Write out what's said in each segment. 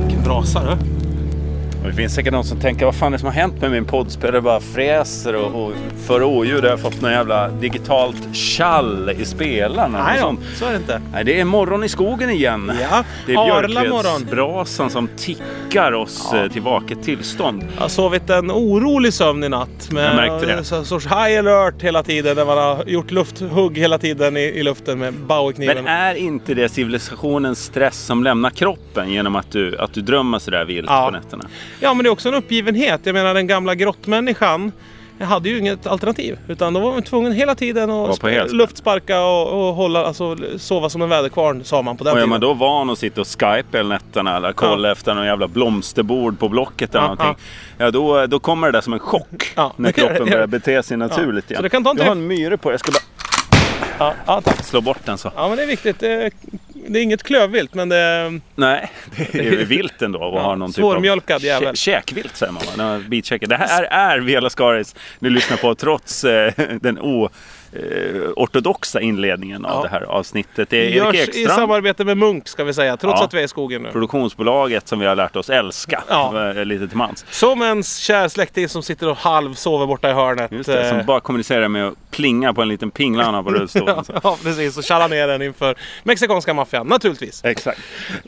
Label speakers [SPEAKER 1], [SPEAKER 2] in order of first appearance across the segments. [SPEAKER 1] Vilken brasa du.
[SPEAKER 2] Och det finns säkert någon som tänker, vad fan är det som har hänt med min poddspelare? bara fräser och, och för oljud. Jag har fått något jävla digitalt tjall i spelarna.
[SPEAKER 1] Nej
[SPEAKER 2] Och
[SPEAKER 1] då,
[SPEAKER 2] sånt.
[SPEAKER 1] så är det inte.
[SPEAKER 2] Nej, det är morgon i skogen igen.
[SPEAKER 1] Ja,
[SPEAKER 2] Det är
[SPEAKER 1] Arla morgon.
[SPEAKER 2] björkvedsbrasan som tickar oss
[SPEAKER 1] Ja.
[SPEAKER 2] eh, till vaket tillstånd.
[SPEAKER 1] Jag har sovit en orolig sömn i natt. Med
[SPEAKER 2] Jag märkte det.
[SPEAKER 1] En sorts high alert hela tiden. När man har gjort lufthugg hela tiden i, i luften med Bowie-kniven.
[SPEAKER 2] Men äh- är inte det civilisationens stress som lämnar kroppen genom att du, att du drömmer sådär vilt
[SPEAKER 1] Ja.
[SPEAKER 2] på nätterna?
[SPEAKER 1] Ja, men det är också en uppgivenhet. Jag menar den gamla grottmänniskan hade ju inget alternativ. Utan då var man tvungen hela tiden
[SPEAKER 2] Var
[SPEAKER 1] att
[SPEAKER 2] på helspänn.
[SPEAKER 1] luftsparka och, och hålla, alltså, sova som en väderkvarn sa man på den
[SPEAKER 2] Och är
[SPEAKER 1] tiden.
[SPEAKER 2] man då van att sitta och skypa hela nätterna eller kolla efter någon jävla blomsterbord på Blocket eller
[SPEAKER 1] Ja,
[SPEAKER 2] någonting. Ja, då, då kommer det där som en chock
[SPEAKER 1] Ja,
[SPEAKER 2] när
[SPEAKER 1] det gör
[SPEAKER 2] kroppen
[SPEAKER 1] det.
[SPEAKER 2] börjar bete sig naturligt
[SPEAKER 1] Så
[SPEAKER 2] igen.
[SPEAKER 1] det kan ta en
[SPEAKER 2] jag har
[SPEAKER 1] träff-
[SPEAKER 2] en myre på dig. Jag ska bara
[SPEAKER 1] Ja, ja, tack.
[SPEAKER 2] slå bort den så.
[SPEAKER 1] ja, men det är viktigt. Det är, det är inget klövvilt, men det är
[SPEAKER 2] Nej, det är ju vilt ändå och har någon typ av...
[SPEAKER 1] svårmjölkad jävel.
[SPEAKER 2] Kä- Käkvilt säger man va? Den har Bitkäke. Det här är Viola Skaris ni lyssnar på trots eh, den oortodoxa inledningen av
[SPEAKER 1] Ja.
[SPEAKER 2] det här avsnittet. Det är Erik
[SPEAKER 1] Görs i
[SPEAKER 2] Ekstrand,
[SPEAKER 1] samarbete med Munk ska vi säga, trots
[SPEAKER 2] Ja.
[SPEAKER 1] att vi är i skogen nu.
[SPEAKER 2] produktionsbolaget som vi har lärt oss älska
[SPEAKER 1] Ja.
[SPEAKER 2] eh, lite till mans.
[SPEAKER 1] Som en kär släkting som sitter och halvsover borta i hörnet.
[SPEAKER 2] Just det, som
[SPEAKER 1] Eh,
[SPEAKER 2] bara kommunicerar med att plinga på en liten pingla han har på rullstolen. Så.
[SPEAKER 1] Ja, precis. Och tjallar ner den inför mexikanska maffian, naturligtvis.
[SPEAKER 2] Exakt.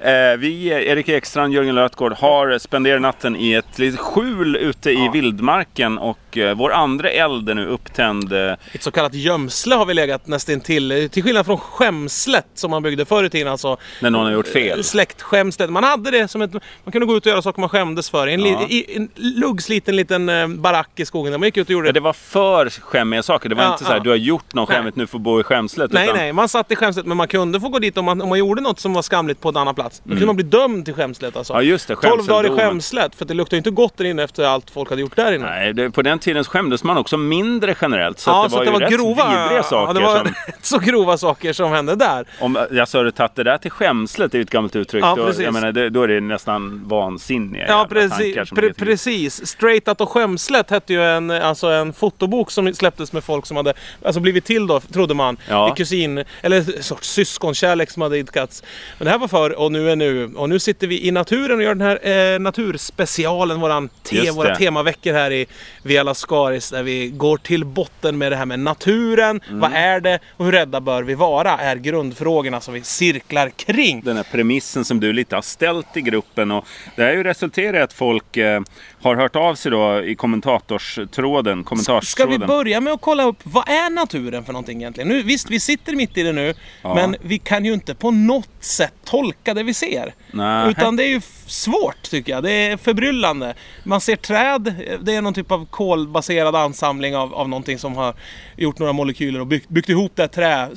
[SPEAKER 2] Eh, vi, eh, Erik Ekstrand, Jörgen Lötgård, har spenderat natten i ett litet skjul ute i vildmarken och eh, vår andra eld är nu upptänd. Eh,
[SPEAKER 1] Ett så kallat gömsle har vi legat nästintill. eh, Till skillnad från skämslet som man byggde förr i tiden. Alltså
[SPEAKER 2] När någon har gjort fel.
[SPEAKER 1] Släktskämslet. Man hade det som ett... Man kunde gå ut och göra saker man skämdes för. I en, li,
[SPEAKER 2] Ja.
[SPEAKER 1] i, en luggsliten liten eh, barack i skogen. Där man gick ut och gjorde
[SPEAKER 2] Ja, det var för skämmiga saker. Det var
[SPEAKER 1] Ja,
[SPEAKER 2] inte så här,
[SPEAKER 1] ja.
[SPEAKER 2] du har gjort någon
[SPEAKER 1] Nej.
[SPEAKER 2] skämmigt, nu får du bo i skämslet.
[SPEAKER 1] Nej,
[SPEAKER 2] utan
[SPEAKER 1] nej, man satt i skämslet men man kunde få gå dit om man, om man gjorde något som var skamligt på en annan plats. Då kunde man bli dömd till skämslet alltså.
[SPEAKER 2] Mm. Ja, just det,
[SPEAKER 1] 12 dagar i
[SPEAKER 2] skämseldomen.
[SPEAKER 1] skämslet, för det luktade ju inte gott där inne efter allt folk hade gjort där inne.
[SPEAKER 2] Nej, det, på den tiden skämdes man också mindre generellt. Så
[SPEAKER 1] ja,
[SPEAKER 2] att det
[SPEAKER 1] så
[SPEAKER 2] var
[SPEAKER 1] att det
[SPEAKER 2] ju
[SPEAKER 1] var
[SPEAKER 2] rätt
[SPEAKER 1] grova,
[SPEAKER 2] vidriga saker.
[SPEAKER 1] ja, det var
[SPEAKER 2] som,
[SPEAKER 1] rätt så grova saker som hände där.
[SPEAKER 2] om jag sa du tagit det där till skämslet, det är ju ett gammalt uttryck.
[SPEAKER 1] Ja,
[SPEAKER 2] då,
[SPEAKER 1] precis.
[SPEAKER 2] jag menar, det, då är det nästan vansinniga
[SPEAKER 1] Ja,
[SPEAKER 2] jävla
[SPEAKER 1] precis.
[SPEAKER 2] tankar som
[SPEAKER 1] Pre
[SPEAKER 2] ligger till-
[SPEAKER 1] precis. Straightat och skämslet hette ju en, alltså en fotobok som släpptes med folk som hade alltså blivit till då, trodde man.
[SPEAKER 2] Ja.
[SPEAKER 1] I kusin, eller en sorts syskonkärlek som hade idkats. Men det här var förr och nu är nu. Och nu sitter vi i naturen och gör den här eh, naturspecialen, våran te,
[SPEAKER 2] Just
[SPEAKER 1] våra
[SPEAKER 2] det.
[SPEAKER 1] temavackor här i Via Scaris där vi går till botten med det här med naturen.
[SPEAKER 2] Mm.
[SPEAKER 1] Vad är det och hur rädda bör vi vara? Är grundfrågorna som vi cirklar kring.
[SPEAKER 2] den här premissen som du lite har ställt i gruppen. Och det här har ju resulterat i att folk eh, har hört av sig då i kommentatorstråden.
[SPEAKER 1] Ska
[SPEAKER 2] kommentarstråden.
[SPEAKER 1] vi börja med att kolla upp vad är naturen för någonting egentligen? Nu, visst, vi sitter mitt i det nu,
[SPEAKER 2] Ja.
[SPEAKER 1] men vi kan ju inte på något sätt tolka det vi ser.
[SPEAKER 2] Nej.
[SPEAKER 1] Utan det är ju f- svårt tycker jag. Det är förbryllande. Man ser träd, det är någon typ av kolbaserad ansamling av, av någonting som har gjort några molekyler och byggt, byggt ihop det här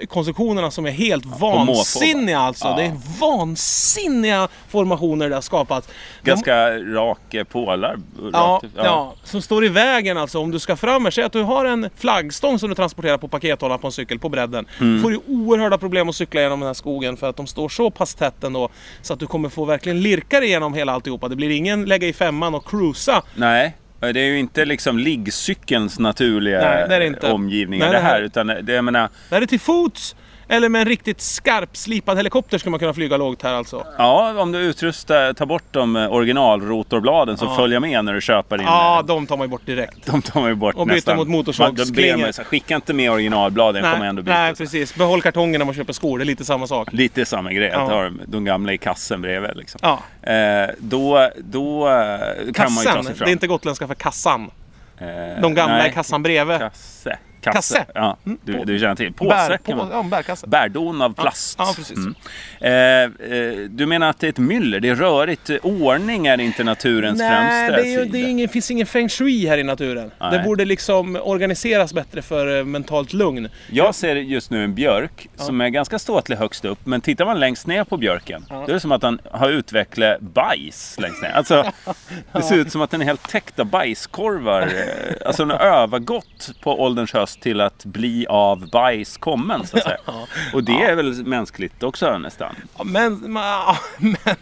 [SPEAKER 1] träkonstruktionerna som är helt
[SPEAKER 2] måfå,
[SPEAKER 1] vansinniga alltså.
[SPEAKER 2] Ja.
[SPEAKER 1] Det är vansinniga formationer det har skapat. De-
[SPEAKER 2] Ganska rak eh, pålar.
[SPEAKER 1] Ja,
[SPEAKER 2] rakt-
[SPEAKER 1] ja. som står i vägen alltså om du ska fram här. Säg att du har en flaggstång som du transporterar på pakethållaren på en cykel på bredden.
[SPEAKER 2] Mm.
[SPEAKER 1] får du oerhörda problem att cykla genom den här skogen för att de står så pass tätt ändå. Så att du kommer få verkligen lirka dig igenom hela alltihopa. Det blir ingen lägga i femman och cruisa.
[SPEAKER 2] Nej, det är ju inte liksom liggcykelns naturliga eh,
[SPEAKER 1] Nej, det är det inte.
[SPEAKER 2] omgivningar
[SPEAKER 1] Nej,
[SPEAKER 2] det
[SPEAKER 1] det här-
[SPEAKER 2] här. Utan det, jag menar,
[SPEAKER 1] Det här är till fots eller med en riktigt skarpslipad helikopter skulle man kunna flyga lågt här alltså.
[SPEAKER 2] ja, om du utrustar, tar bort de eh, originalrotorbladen som följer med när du köper in.
[SPEAKER 1] Ja, de tar man ju bort direkt.
[SPEAKER 2] De tar man ju bort
[SPEAKER 1] Och byter
[SPEAKER 2] nästan.
[SPEAKER 1] mot
[SPEAKER 2] Man- de ber man
[SPEAKER 1] motorsågsklingor.
[SPEAKER 2] ju så här, Skicka inte med originalbladen, jag kommer ändå byta.
[SPEAKER 1] nej precis. Behåll kartongen när man köper skor, det är lite samma sak.
[SPEAKER 2] Lite samma grej,
[SPEAKER 1] Ja.
[SPEAKER 2] att ha de, de gamla i kassen bredvid. Liksom.
[SPEAKER 1] Ja.
[SPEAKER 2] Eh, då då eh, kan man ju ta
[SPEAKER 1] Kassan,
[SPEAKER 2] sig
[SPEAKER 1] det
[SPEAKER 2] fram.
[SPEAKER 1] är inte gotländska för kassan.
[SPEAKER 2] Eh,
[SPEAKER 1] De gamla
[SPEAKER 2] nej,
[SPEAKER 1] i kassan bredvid.
[SPEAKER 2] Kasse.
[SPEAKER 1] Kasse. Mm.
[SPEAKER 2] Ja, du, du känner till. Påse kan man
[SPEAKER 1] Bär, på, ja, en bärkasse.
[SPEAKER 2] Bärdon av plast.
[SPEAKER 1] Ja, precis.
[SPEAKER 2] Mm. Eh, eh, du menar att det är ett myller, det är rörigt. Ordning är inte naturens
[SPEAKER 1] Nej,
[SPEAKER 2] främsta
[SPEAKER 1] det, är ju,
[SPEAKER 2] sida.
[SPEAKER 1] det är ingen, finns ingen feng shui här i naturen.
[SPEAKER 2] Nej.
[SPEAKER 1] Det borde liksom organiseras bättre för eh, mentalt lugn.
[SPEAKER 2] Jag ser just nu en björk som är ganska ståtlig högst upp. Men tittar man längst ner på björken,
[SPEAKER 1] Ja.
[SPEAKER 2] då är det som att den har utvecklat bajs längst ner. Alltså, det ser ut som att den är helt täckt av bajskorvar. Eh, Alltså den har övergått på ålderns höst till att bli av bajs kommen, så att säga. Och det är väl mänskligt också nästan.
[SPEAKER 1] Ja, Men, ma,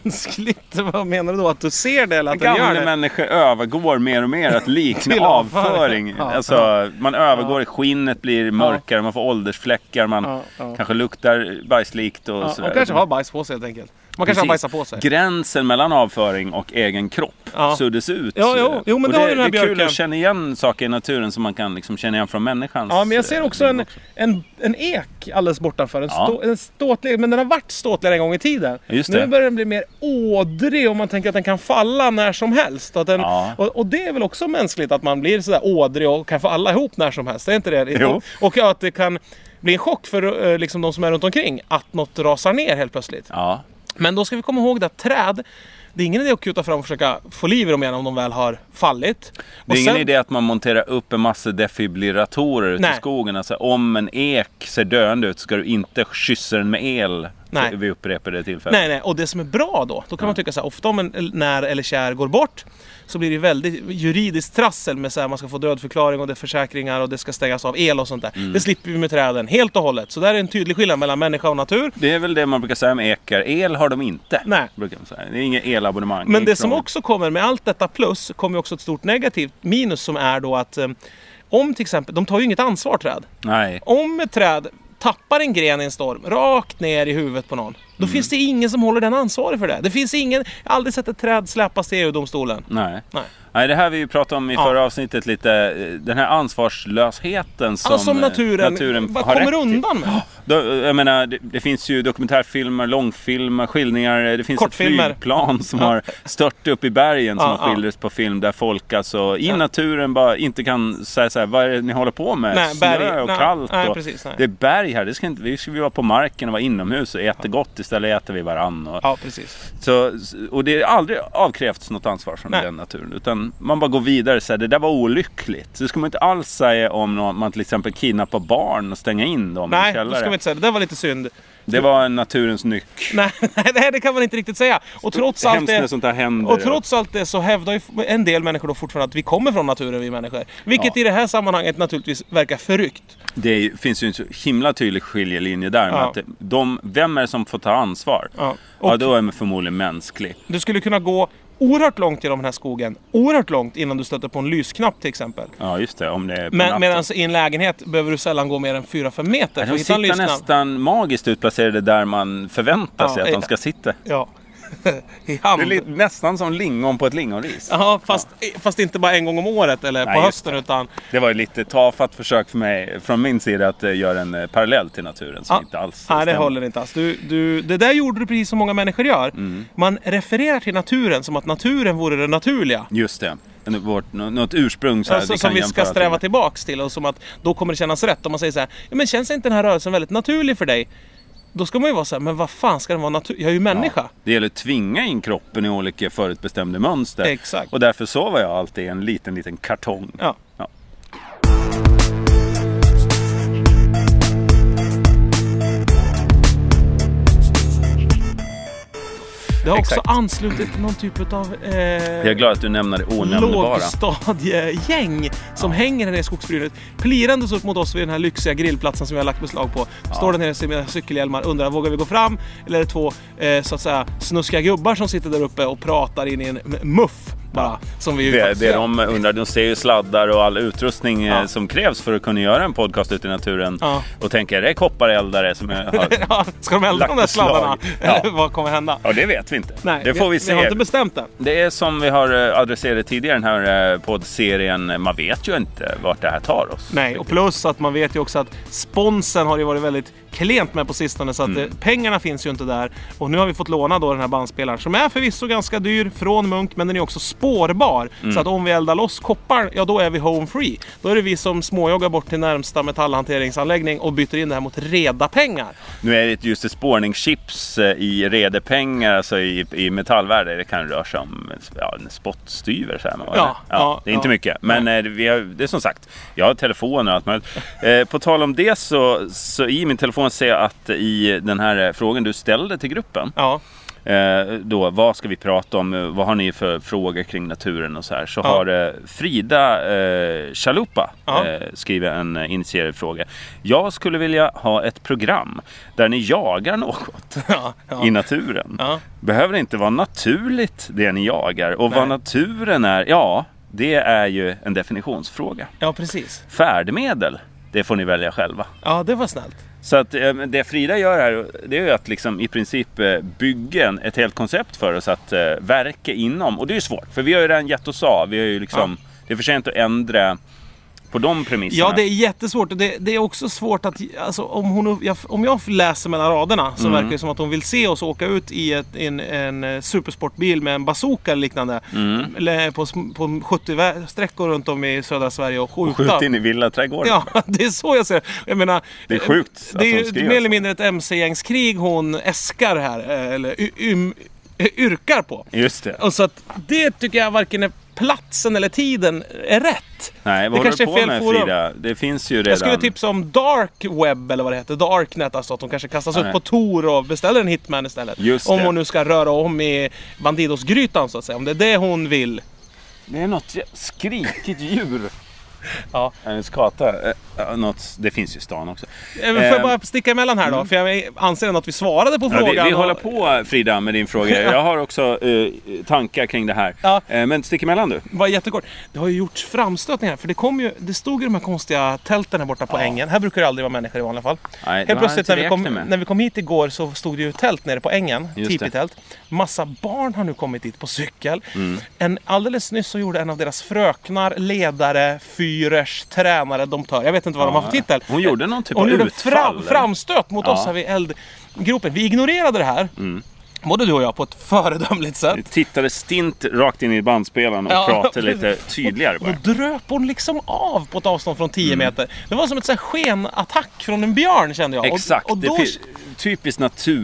[SPEAKER 1] mänskligt, vad menar du då? Att du ser det eller att den gör
[SPEAKER 2] Gamla
[SPEAKER 1] det?
[SPEAKER 2] människor övergår mer och mer att likna
[SPEAKER 1] Till
[SPEAKER 2] avföring.
[SPEAKER 1] avföring. Ja.
[SPEAKER 2] Alltså, man övergår, skinnet blir mörkare, man får åldersfläckar, man
[SPEAKER 1] Ja, ja.
[SPEAKER 2] kanske luktar bajslikt och
[SPEAKER 1] Ja,
[SPEAKER 2] sådär.
[SPEAKER 1] de kanske har bajs på sig helt enkelt. Man kanske har
[SPEAKER 2] Precis.
[SPEAKER 1] bajsat på sig.
[SPEAKER 2] Gränsen mellan avföring och egen kropp
[SPEAKER 1] Ja.
[SPEAKER 2] suddas ut.
[SPEAKER 1] Ja, jo, jo, men
[SPEAKER 2] och
[SPEAKER 1] det har ju den här
[SPEAKER 2] det är kul
[SPEAKER 1] björken.
[SPEAKER 2] att känna igen saker i naturen som man kan liksom känna igen från människans.
[SPEAKER 1] Ja, men jag ser
[SPEAKER 2] eh,
[SPEAKER 1] också
[SPEAKER 2] liv
[SPEAKER 1] en, en, en ek alldeles bortanför. En,
[SPEAKER 2] Ja.
[SPEAKER 1] stå, en ståtlig, men den har varit ståtligare en gång i tiden.
[SPEAKER 2] Ja, just det.
[SPEAKER 1] Nu börjar den bli mer ådrig och man tänker att den kan falla när som helst. Att den,
[SPEAKER 2] Ja.
[SPEAKER 1] och, och det är väl också mänskligt att man blir sådär ådrig och kan falla ihop när som helst. Det är inte det?
[SPEAKER 2] Jo.
[SPEAKER 1] Och att det kan bli en chock för eh, liksom, de som är runt omkring att något rasar ner helt plötsligt.
[SPEAKER 2] Ja,
[SPEAKER 1] Men då ska vi komma ihåg det att träd, det är ingen idé att kuta fram och försöka få liv i dem igen om de väl har fallit.
[SPEAKER 2] Det är
[SPEAKER 1] Och
[SPEAKER 2] ingen
[SPEAKER 1] sen-
[SPEAKER 2] idé att man monterar upp en massa defibrillatorer ute i
[SPEAKER 1] Nej.
[SPEAKER 2] skogen. Alltså, om en ek ser döende ut ska du inte kyssa den med el
[SPEAKER 1] Nej.
[SPEAKER 2] vid upprepade tillfällen.
[SPEAKER 1] Nej, nej, och det som är bra då, då kan man tycka så här, ofta om en el- när eller kär går bort så blir det väldigt juridiskt trassel med så här, man ska få dödförklaring och det är försäkringar och det ska stängas av el och sånt där. Det slipper vi med träden helt och hållet. Så där är en tydlig skillnad mellan människa och natur.
[SPEAKER 2] Det är väl det man brukar säga om ekar. El har de inte.
[SPEAKER 1] Nej.
[SPEAKER 2] Brukar man säga. Det är inget elabonnemang.
[SPEAKER 1] Men det
[SPEAKER 2] Inte
[SPEAKER 1] som
[SPEAKER 2] från-
[SPEAKER 1] också kommer med allt detta plus, kommer ju också ett stort negativt minus som är då att eh, om till exempel, de tar ju inget ansvar träd.
[SPEAKER 2] Nej.
[SPEAKER 1] Om ett träd tappar en gren i en storm rakt ner i huvudet på någon. Då finns det ingen som håller den ansvarig för det. Det finns ingen, jag har aldrig sett ett träd släpas till EU-domstolen.
[SPEAKER 2] Nej.
[SPEAKER 1] Nej.
[SPEAKER 2] Nej, det här vi ju pratade om i
[SPEAKER 1] Ja.
[SPEAKER 2] förra avsnittet lite. eh, Den här ansvarslösheten som,
[SPEAKER 1] Som, alltså som
[SPEAKER 2] eh,
[SPEAKER 1] naturen, vad
[SPEAKER 2] har
[SPEAKER 1] kommer
[SPEAKER 2] rätt till.
[SPEAKER 1] undan med.
[SPEAKER 2] Då, jag menar, det, det finns ju dokumentärfilmer, långfilmer, skildringar. eh, Det finns ett
[SPEAKER 1] Kortfilmer.
[SPEAKER 2] flygplan som har stört upp i bergen som
[SPEAKER 1] Ja,
[SPEAKER 2] har skildrats på film där folk alltså i naturen bara inte kan säga så här, vad är det ni håller på med?
[SPEAKER 1] Nej,
[SPEAKER 2] Snö
[SPEAKER 1] berg-
[SPEAKER 2] och
[SPEAKER 1] nej,
[SPEAKER 2] kallt.
[SPEAKER 1] nej,
[SPEAKER 2] och,
[SPEAKER 1] precis, nej.
[SPEAKER 2] Det är berg här, det ska inte, vi ska ju vara på marken och vara inomhus och äta gott istället äter vi varann. Och,
[SPEAKER 1] Ja, precis.
[SPEAKER 2] så, och det är aldrig avkrävts något ansvar från
[SPEAKER 1] Nej.
[SPEAKER 2] den naturen. Utan man bara går vidare så här, det där var olyckligt. Så det ska man inte alls säga om någon, man till exempel kidnappar barn och stänga in dem i
[SPEAKER 1] Nej,
[SPEAKER 2] en
[SPEAKER 1] då ska
[SPEAKER 2] källare.
[SPEAKER 1] vi inte säga det. Det där var lite synd.
[SPEAKER 2] Det var en naturens nyck.
[SPEAKER 1] Nej, nej, det här- det kan man inte riktigt säga. Och trots allt
[SPEAKER 2] Hemskt när
[SPEAKER 1] det...
[SPEAKER 2] sånt här händer.
[SPEAKER 1] Och trots allt det så hävdar ju en del människor då fortfarande att vi kommer från naturen, vi människor. Vilket
[SPEAKER 2] Ja.
[SPEAKER 1] i det här sammanhanget naturligtvis verkar förryckt.
[SPEAKER 2] Det är, ju- finns ju en så himla tydlig skiljelinje där. Med
[SPEAKER 1] Ja.
[SPEAKER 2] att det- de, vem är det som får ta ansvar?
[SPEAKER 1] Ja.
[SPEAKER 2] Ja,
[SPEAKER 1] Och-
[SPEAKER 2] då är man förmodligen mänsklig.
[SPEAKER 1] Du skulle kunna gå oerhört långt genom den här skogen. Oerhört långt innan du stöter på en lysknapp till exempel.
[SPEAKER 2] Ja, just det. Om det är på
[SPEAKER 1] Men
[SPEAKER 2] natten.
[SPEAKER 1] medan i en lägenhet behöver du sällan gå mer än 4-5 meter för
[SPEAKER 2] De
[SPEAKER 1] att hitta en
[SPEAKER 2] sitter
[SPEAKER 1] lysknapp.
[SPEAKER 2] nästan magiskt utplacerade där man förväntar
[SPEAKER 1] Ja,
[SPEAKER 2] sig att de
[SPEAKER 1] ja.
[SPEAKER 2] ska sitta.
[SPEAKER 1] Ja. I
[SPEAKER 2] Det är
[SPEAKER 1] hand.
[SPEAKER 2] li- nästan som lingon på ett lingonris.
[SPEAKER 1] Ja, fast, fast inte bara en gång om året eller
[SPEAKER 2] Nej,
[SPEAKER 1] på
[SPEAKER 2] just
[SPEAKER 1] hösten utan...
[SPEAKER 2] Det var ju lite tafatt försök för mig, från min sida att eh, göra en eh, parallell till naturen som
[SPEAKER 1] Ja.
[SPEAKER 2] inte alls
[SPEAKER 1] Nej, det
[SPEAKER 2] stämmer.
[SPEAKER 1] håller inte alls. Du, du, det där gjorde du precis som många människor gör.
[SPEAKER 2] Mm.
[SPEAKER 1] Man refererar till naturen som att naturen vore det naturliga.
[SPEAKER 2] Just det. En- Vårt, nå- något ursprung så här,
[SPEAKER 1] Alltså,
[SPEAKER 2] vi
[SPEAKER 1] som
[SPEAKER 2] kan
[SPEAKER 1] vi
[SPEAKER 2] jämföra
[SPEAKER 1] ska sträva
[SPEAKER 2] med.
[SPEAKER 1] tillbaks till och som att då kommer det kännas rätt. Om man säger så här, ja, men känns inte den här rörelsen väldigt naturlig för dig? Då ska man ju vara så här, men vad fan ska den vara naturlig? Jag är ju människa.
[SPEAKER 2] Ja. Det gäller att tvinga in kroppen i olika förutbestämda mönster.
[SPEAKER 1] Exakt.
[SPEAKER 2] Och därför sover jag alltid i en liten, liten kartong.
[SPEAKER 1] Ja.
[SPEAKER 2] Ja.
[SPEAKER 1] Det har
[SPEAKER 2] Exakt.
[SPEAKER 1] också anslutit till någon typ av eh,
[SPEAKER 2] Jag är glad att du nämner det onämnbara.
[SPEAKER 1] lågstadiegäng som hänger här nere i skogsbrynet. Plirandes upp mot oss vid den här lyxiga grillplatsen som vi har lagt beslag på. Står där nere med sina cykelhjälmar undrar, vågar vi gå fram? Eller är det två eh, så att säga snuskiga gubbar som sitter där uppe och pratar in i en m- muff bara? Som vi ju
[SPEAKER 2] Det,
[SPEAKER 1] faktiskt
[SPEAKER 2] det
[SPEAKER 1] gör.
[SPEAKER 2] de eh, undrar, de ser ju sladdar och all utrustning eh,
[SPEAKER 1] Ja.
[SPEAKER 2] som krävs för att kunna göra en podcast ute i naturen.
[SPEAKER 1] Ja.
[SPEAKER 2] Och tänker, är det koppareldare som jag har...
[SPEAKER 1] ja, ska de elda
[SPEAKER 2] Lagt
[SPEAKER 1] de där
[SPEAKER 2] beslag.
[SPEAKER 1] sladdarna?
[SPEAKER 2] Ja.
[SPEAKER 1] Eller vad kommer hända?
[SPEAKER 2] Ja, det vet vi inte.
[SPEAKER 1] Nej,
[SPEAKER 2] det får vi se.
[SPEAKER 1] Vi har inte bestämt än.
[SPEAKER 2] Det är som vi har eh, adresserat tidigare i den här eh, poddserien, eh, man vet ju inte vart det här tar oss.
[SPEAKER 1] Nej, och plus att man vet ju också att sponsen har ju varit väldigt klent med på sistone så att
[SPEAKER 2] Mm.
[SPEAKER 1] eh, pengarna finns ju inte där. Och nu har vi fått låna då den här bandspelaren som är förvisso ganska dyr från Munk men den är också spårbar.
[SPEAKER 2] Mm.
[SPEAKER 1] Så att om vi eldar loss koppar, ja då är vi home free. Då är det vi som småjoggar bort till närmsta metallhanteringsanläggning och byter in det här mot reda pengar.
[SPEAKER 2] Nu är det just ett spårningschips eh, i redepengar, alltså i, i metallvärde. Det kan röra sig om ja, en spottstyver. Så här, va?
[SPEAKER 1] Ja, ja,
[SPEAKER 2] det är inte
[SPEAKER 1] ja.
[SPEAKER 2] mycket. Men eh, vi har, det är som sagt, jag har telefoner och allt möjligt. Eh, på tal om det så, så i min telefon ser jag att i den här eh, frågan du ställde till gruppen.
[SPEAKER 1] Ja,
[SPEAKER 2] Eh, då, vad ska vi prata om? Eh, Vad har ni för fråga kring naturen och så här? Så
[SPEAKER 1] Ja.
[SPEAKER 2] har eh, Frida eh, Chalupa
[SPEAKER 1] Ja.
[SPEAKER 2] eh, skrivit en eh, initierad fråga. Jag skulle vilja ha ett program där ni jagar något
[SPEAKER 1] ja, ja.
[SPEAKER 2] i naturen.
[SPEAKER 1] Ja.
[SPEAKER 2] Behöver inte vara naturligt det ni jagar. Och
[SPEAKER 1] Nej.
[SPEAKER 2] vad naturen är, ja, det är ju en definitionsfråga.
[SPEAKER 1] ja precis.
[SPEAKER 2] Färdmedel, det får ni välja själva.
[SPEAKER 1] Ja, det var snällt.
[SPEAKER 2] Så att eh, det Frida gör här, det är ju att liksom i princip eh, bygga en- ett helt koncept för oss att eh, verka inom. Och det är ju svårt, för vi har ju redan gett oss av. Vi har ju liksom, Det är för sent att ändra på de premisserna.
[SPEAKER 1] Ja, det är jättesvårt. Och Det, det är också svårt att... Alltså, om, hon, jag, om jag läser mellan raderna
[SPEAKER 2] Mm.
[SPEAKER 1] så verkar det som att hon vill se oss åka ut i ett, en, en eh, supersportbil med en bazooka eller liknande.
[SPEAKER 2] Mm.
[SPEAKER 1] Eller eh, på, sm- på 70-sträckor runt om i södra Sverige och skjuta.
[SPEAKER 2] Skjut in i villaträdgården.
[SPEAKER 1] Ja, det är så jag ser det. Jag menar, eh,
[SPEAKER 2] Det är sjukt att
[SPEAKER 1] Det är
[SPEAKER 2] hon
[SPEAKER 1] ju
[SPEAKER 2] skriver
[SPEAKER 1] mer eller
[SPEAKER 2] så.
[SPEAKER 1] mindre ett mc-gängskrig hon äskar här. eh, Eller y- ym, eh, yrkar på.
[SPEAKER 2] Just det.
[SPEAKER 1] Och så att det tycker jag varken är platsen eller tiden är rätt.
[SPEAKER 2] Nej, vad
[SPEAKER 1] det
[SPEAKER 2] håller
[SPEAKER 1] kanske
[SPEAKER 2] du på
[SPEAKER 1] är fel
[SPEAKER 2] med
[SPEAKER 1] forum.
[SPEAKER 2] Frida? Det finns ju redan...
[SPEAKER 1] Jag skulle typ- tipsa om Dark Web eller vad det heter. Darknet alltså. Att de kanske kastas
[SPEAKER 2] nej.
[SPEAKER 1] ut på Tor och beställer en hitman istället.
[SPEAKER 2] Just
[SPEAKER 1] om
[SPEAKER 2] det.
[SPEAKER 1] hon nu ska röra om i Bandidosgrytan så att säga. Om det är det hon vill.
[SPEAKER 2] Det är något jä- skrikigt djur.
[SPEAKER 1] Ja.
[SPEAKER 2] En skata. Eh, eh, Något... Det finns ju i stan också.
[SPEAKER 1] Eh, Får jag
[SPEAKER 2] Eh,
[SPEAKER 1] bara sticka emellan här då? För jag anser ändå att vi svarade på
[SPEAKER 2] Ja,
[SPEAKER 1] frågan.
[SPEAKER 2] vi, vi
[SPEAKER 1] och-
[SPEAKER 2] håller på Frida med din fråga. Jag har också eh, tankar kring det här.
[SPEAKER 1] Ja.
[SPEAKER 2] Eh, men stick emellan du.
[SPEAKER 1] Bara jättekort. Det har ju gjorts framstötningar. För det kom ju, det stod ju de här konstiga tälten här borta på ängen. Här brukar det aldrig vara människor i vanliga fall.
[SPEAKER 2] Nej, det
[SPEAKER 1] Helt
[SPEAKER 2] var
[SPEAKER 1] plötsligt
[SPEAKER 2] inte
[SPEAKER 1] när vi, kom,
[SPEAKER 2] räknat med.
[SPEAKER 1] när vi kom hit igår så stod det ju tält nere på ängen.
[SPEAKER 2] Just det.
[SPEAKER 1] Tipitält. Massa barn har nu kommit dit på cykel.
[SPEAKER 2] Mm.
[SPEAKER 1] En, alldeles nyss så gjorde en av deras fröknar, ledare, fyrers, tränare, domptör. Jag vet inte vad de har för titel.
[SPEAKER 2] Hon gjorde någon typ
[SPEAKER 1] Hon
[SPEAKER 2] av
[SPEAKER 1] gjorde en
[SPEAKER 2] utfall,
[SPEAKER 1] fram,
[SPEAKER 2] eller?
[SPEAKER 1] framstöt mot
[SPEAKER 2] Ja. Mm.
[SPEAKER 1] oss här vid eldgropen. Vi ignorerade det här. Både du och jag på ett föredömligt sätt.
[SPEAKER 2] Vi tittade stint rakt in i bandspelaren och
[SPEAKER 1] Ja.
[SPEAKER 2] pratade lite tydligare bara.
[SPEAKER 1] Då dröp hon liksom av på ett avstånd från 10
[SPEAKER 2] Mm.
[SPEAKER 1] meter. Det var som ett så här skenattack från en björn kände jag. Och-
[SPEAKER 2] Exakt.
[SPEAKER 1] Och
[SPEAKER 2] det
[SPEAKER 1] då,
[SPEAKER 2] finns typiskt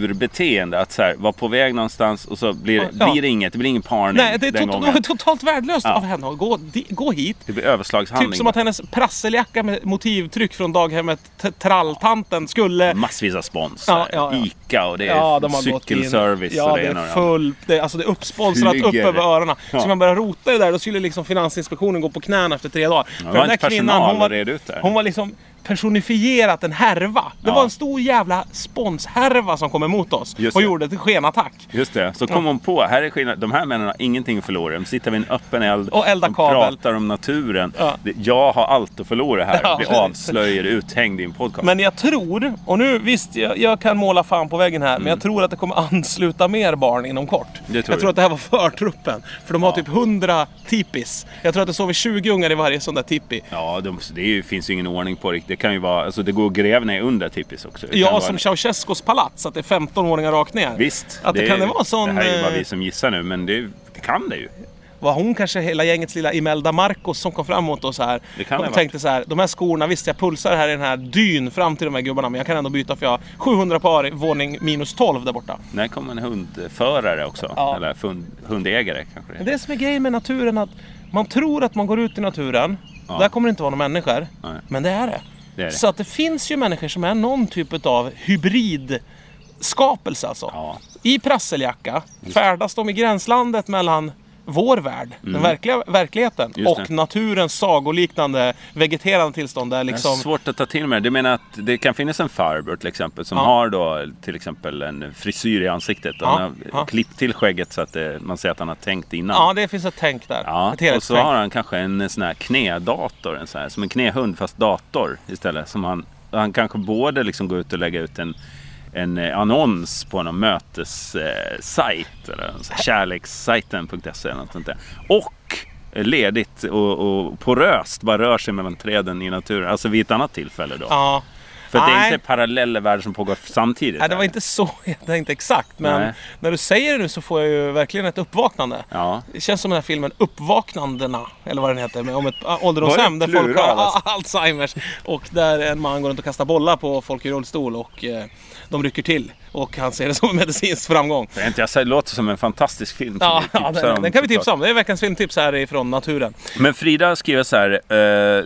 [SPEAKER 2] naturbeteende att så här, vara på väg någonstans och så blir,
[SPEAKER 1] Ja.
[SPEAKER 2] blir det inget. Det blir ingen parning
[SPEAKER 1] nej, det är
[SPEAKER 2] den
[SPEAKER 1] tot, det
[SPEAKER 2] gången.
[SPEAKER 1] var totalt värdelöst
[SPEAKER 2] Ja.
[SPEAKER 1] av henne att gå, di, gå hit.
[SPEAKER 2] Det blir
[SPEAKER 1] Typ
[SPEAKER 2] överslagshandling.
[SPEAKER 1] som att hennes prasseljacka med motivtryck från daghemmet t- Tralltanten skulle...
[SPEAKER 2] Massvis av spons.
[SPEAKER 1] Ja,
[SPEAKER 2] här.
[SPEAKER 1] ja, ja.
[SPEAKER 2] Ica och det är
[SPEAKER 1] Ja, de har gått in.
[SPEAKER 2] cykelservice.
[SPEAKER 1] Ja,
[SPEAKER 2] och
[SPEAKER 1] det
[SPEAKER 2] ena och
[SPEAKER 1] är
[SPEAKER 2] det andra.
[SPEAKER 1] full, det, alltså det är uppsponsrat upp
[SPEAKER 2] Flyger.
[SPEAKER 1] över öronen.
[SPEAKER 2] Ja.
[SPEAKER 1] Så man börjar rota i det där, då skulle liksom Finansinspektionen gå på knäna efter tre dagar. För
[SPEAKER 2] var inte personal och red ut där.
[SPEAKER 1] hon var liksom personifierat en härva. Det
[SPEAKER 2] Ja.
[SPEAKER 1] var en stor jävla sponshärva som kom emot oss
[SPEAKER 2] Just
[SPEAKER 1] och
[SPEAKER 2] det.
[SPEAKER 1] gjorde ett skenattack.
[SPEAKER 2] Just det, så kom hon på, här är skillnaden. De här männen har ingenting att förlora. De sitter vid en öppen eld.
[SPEAKER 1] Och eldar
[SPEAKER 2] de
[SPEAKER 1] kabel.
[SPEAKER 2] pratar om naturen.
[SPEAKER 1] Ja.
[SPEAKER 2] Det- Jag har allt att förlora här.
[SPEAKER 1] Ja.
[SPEAKER 2] Vi avslöjar uthängd i en podcast.
[SPEAKER 1] Men jag tror, och nu visst, jag, jag kan måla fan på väggen här, men jag tror att det kommer ansluta mer barn inom kort.
[SPEAKER 2] Mm. tror
[SPEAKER 1] jag
[SPEAKER 2] jag.
[SPEAKER 1] tror att det här var förtruppen. För de har typ 100 tipis. Jag tror att det sover 20 ungar i varje sån där tippi.
[SPEAKER 2] Ja, de, det är ju, finns ju ingen ordning på det. Det kan ju vara, alltså det går att gräva ner under tippis också. Det kan
[SPEAKER 1] Ja,
[SPEAKER 2] vara-
[SPEAKER 1] som Ceausescus palats, att det är 15-åringar rakt ner.
[SPEAKER 2] Visst.
[SPEAKER 1] Att det, kan det vara en sån...
[SPEAKER 2] Det här är ju bara
[SPEAKER 1] eh,
[SPEAKER 2] vi som gissar nu, men det, det kan det ju.
[SPEAKER 1] Var hon kanske hela gängets lilla Imelda Marcos som kom fram mot oss här.
[SPEAKER 2] Det kan det
[SPEAKER 1] och
[SPEAKER 2] ha
[SPEAKER 1] tänkte så här, de här skorna, visst jag pulsar här i den här dyn fram till de här gubbarna, men jag kan ändå byta för jag har 700 par i våning minus 12 där borta.
[SPEAKER 2] När kom en hundförare också?
[SPEAKER 1] Ja.
[SPEAKER 2] Eller fund, hundägare kanske
[SPEAKER 1] Men
[SPEAKER 2] det heter.
[SPEAKER 1] Det som är grejen med naturen att man tror att man går ut i naturen,
[SPEAKER 2] Ja.
[SPEAKER 1] där kommer det inte vara några människor.
[SPEAKER 2] Nej.
[SPEAKER 1] Men det är det.
[SPEAKER 2] Det är det.
[SPEAKER 1] Så att det finns ju människor som är någon typ av hybridskapelse alltså.
[SPEAKER 2] Ja.
[SPEAKER 1] I prasseljacka färdas de i gränslandet mellan vår värld, den verkliga verkligheten,
[SPEAKER 2] Mm. Just
[SPEAKER 1] och
[SPEAKER 2] det.
[SPEAKER 1] naturens sagoliknande vegeterande tillstånd där
[SPEAKER 2] Det är
[SPEAKER 1] liksom...
[SPEAKER 2] svårt att ta till mig. Du menar att det kan finnas en farbror till exempel som
[SPEAKER 1] Ja.
[SPEAKER 2] har då till exempel en frisyr i ansiktet. Och
[SPEAKER 1] Ja,
[SPEAKER 2] Han har
[SPEAKER 1] ja.
[SPEAKER 2] klippt till skägget så att det, man ser att han har tänkt innan.
[SPEAKER 1] Ja, det finns ett tänk där.
[SPEAKER 2] Ja,
[SPEAKER 1] Ett
[SPEAKER 2] och så
[SPEAKER 1] helhetstänk.
[SPEAKER 2] har han kanske en sån här knädator, en sån här, som en knähund fast dator istället. Som han, han kanske både liksom går ut och lägger ut en, en eh, annons på någon mötessajt, eh, eller en sån här kärlekssajten.se E eller något sånt där. Och eh, ledigt och, och poröst bara rör sig mellan träden i naturen. Alltså vid ett annat tillfälle då.
[SPEAKER 1] Ja.
[SPEAKER 2] För att det är
[SPEAKER 1] Nej.
[SPEAKER 2] inte parallella världar som pågår samtidigt.
[SPEAKER 1] Nej, det var
[SPEAKER 2] här.
[SPEAKER 1] inte så jag tänkte exakt. Men
[SPEAKER 2] Nej.
[SPEAKER 1] när du säger det nu så får jag ju verkligen ett uppvaknande.
[SPEAKER 2] Ja.
[SPEAKER 1] Det känns som den här filmen Uppvaknandena, eller vad den heter, med- om ett ä,
[SPEAKER 2] Var
[SPEAKER 1] ålderdomshem
[SPEAKER 2] det
[SPEAKER 1] där folk har
[SPEAKER 2] plural,
[SPEAKER 1] a-
[SPEAKER 2] alltså?
[SPEAKER 1] Alzheimers. Och där en man går runt och kastar bollar på folk i rullstol och eh, de rycker till. Och han ser det som en medicinsk framgång.
[SPEAKER 2] Det är inte, jag säger, det låter som en fantastisk film. som typ
[SPEAKER 1] Ja,
[SPEAKER 2] vi
[SPEAKER 1] ja
[SPEAKER 2] tipsar
[SPEAKER 1] den, den kan vi
[SPEAKER 2] såklart.
[SPEAKER 1] tipsa om. Det är veckans filmtips härifrån naturen.
[SPEAKER 2] Men Frida skriver så här. eh, eh,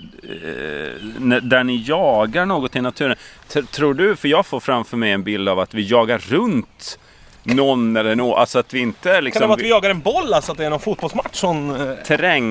[SPEAKER 2] när- där ni jagar något i naturen. T- tror du, för jag får framför mig en bild av att vi jagar runt någon eller något. Alltså att vi inte
[SPEAKER 1] Kan det
[SPEAKER 2] liksom...
[SPEAKER 1] vara att vi jagar en boll, alltså att det är någon fotbollsmatch som... eh,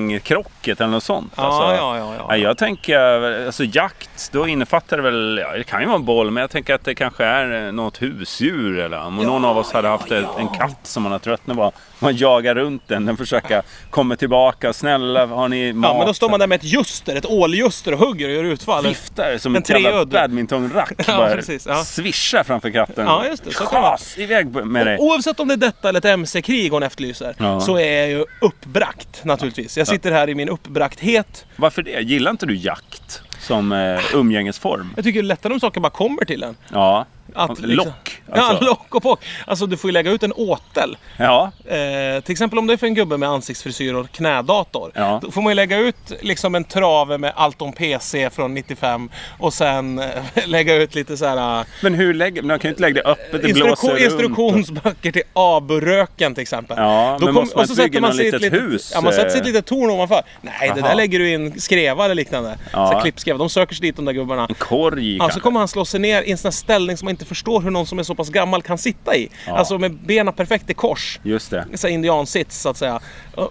[SPEAKER 2] terrängkrocket eller något sånt.
[SPEAKER 1] Ja,
[SPEAKER 2] alltså,
[SPEAKER 1] ja, ja, ja.
[SPEAKER 2] Jag tänker, eh, alltså jakt, då innefattar det väl, ja, det kan ju vara en boll, men jag tänker att det kanske är eh, något husdjur eller om någon av oss hade haft ett- en katt som man har tröttnat på. Man jagar runt den, den försöker komma tillbaka, snälla har ni mat?
[SPEAKER 1] Ja, men då står man där med ett ljuster, ett åljuster och hugger och gör utfall.
[SPEAKER 2] Viftar som
[SPEAKER 1] En
[SPEAKER 2] en jävla
[SPEAKER 1] treudd.
[SPEAKER 2] badmintonrack
[SPEAKER 1] Ja,
[SPEAKER 2] bara
[SPEAKER 1] precis, ja.
[SPEAKER 2] svischar framför katten.
[SPEAKER 1] Ja, just det, så kan man.
[SPEAKER 2] Schas, iväg med dig.
[SPEAKER 1] Oavsett om det är detta eller ett MC-krig hon efterlyser
[SPEAKER 2] Ja.
[SPEAKER 1] så är jag ju uppbrakt naturligtvis. Jag sitter här i min uppbrakthet.
[SPEAKER 2] Varför det? Gillar inte du jakt som eh, umgängesform?
[SPEAKER 1] Jag tycker det är lättare om saker bara kommer till en.
[SPEAKER 2] Ja.
[SPEAKER 1] Att liksom-
[SPEAKER 2] Lock. alltså.
[SPEAKER 1] Ja, lock och pock. Alltså du får ju lägga ut en åtel.
[SPEAKER 2] Ja,
[SPEAKER 1] Eh, till exempel om det är för en gubbe med ansiktsfrisyr och knädator.
[SPEAKER 2] Ja.
[SPEAKER 1] Då får man ju lägga ut liksom en trave med allt om PC från 95 och sen eh, lägga ut lite så här eh,
[SPEAKER 2] Men hur lägger man? kan ju inte lägga det öppet, det blåser
[SPEAKER 1] Instruktion,
[SPEAKER 2] runt.
[SPEAKER 1] instruktionsböcker till aburöken till exempel.
[SPEAKER 2] Ja, men måste man
[SPEAKER 1] och så
[SPEAKER 2] inte bygga
[SPEAKER 1] sätter man
[SPEAKER 2] något
[SPEAKER 1] sig i ett
[SPEAKER 2] litet
[SPEAKER 1] litet-
[SPEAKER 2] hus,
[SPEAKER 1] Ja, man sätter sig i ett
[SPEAKER 2] eh?
[SPEAKER 1] litet torn ovanför. Nej, det
[SPEAKER 2] Aha.
[SPEAKER 1] där lägger du in skrevar eller liknande.
[SPEAKER 2] Ja.
[SPEAKER 1] Så här klippskrevar. De söker sig dit de där gubbarna.
[SPEAKER 2] Korg
[SPEAKER 1] Ja, så
[SPEAKER 2] kanske.
[SPEAKER 1] kommer han slå sig ner i en sån här ställning som man inte förstår hur någon som är så pass gammal kan sitta i. Alltså med benen perfekt i kors.
[SPEAKER 2] Just det.
[SPEAKER 1] Så här indiansits så att säga.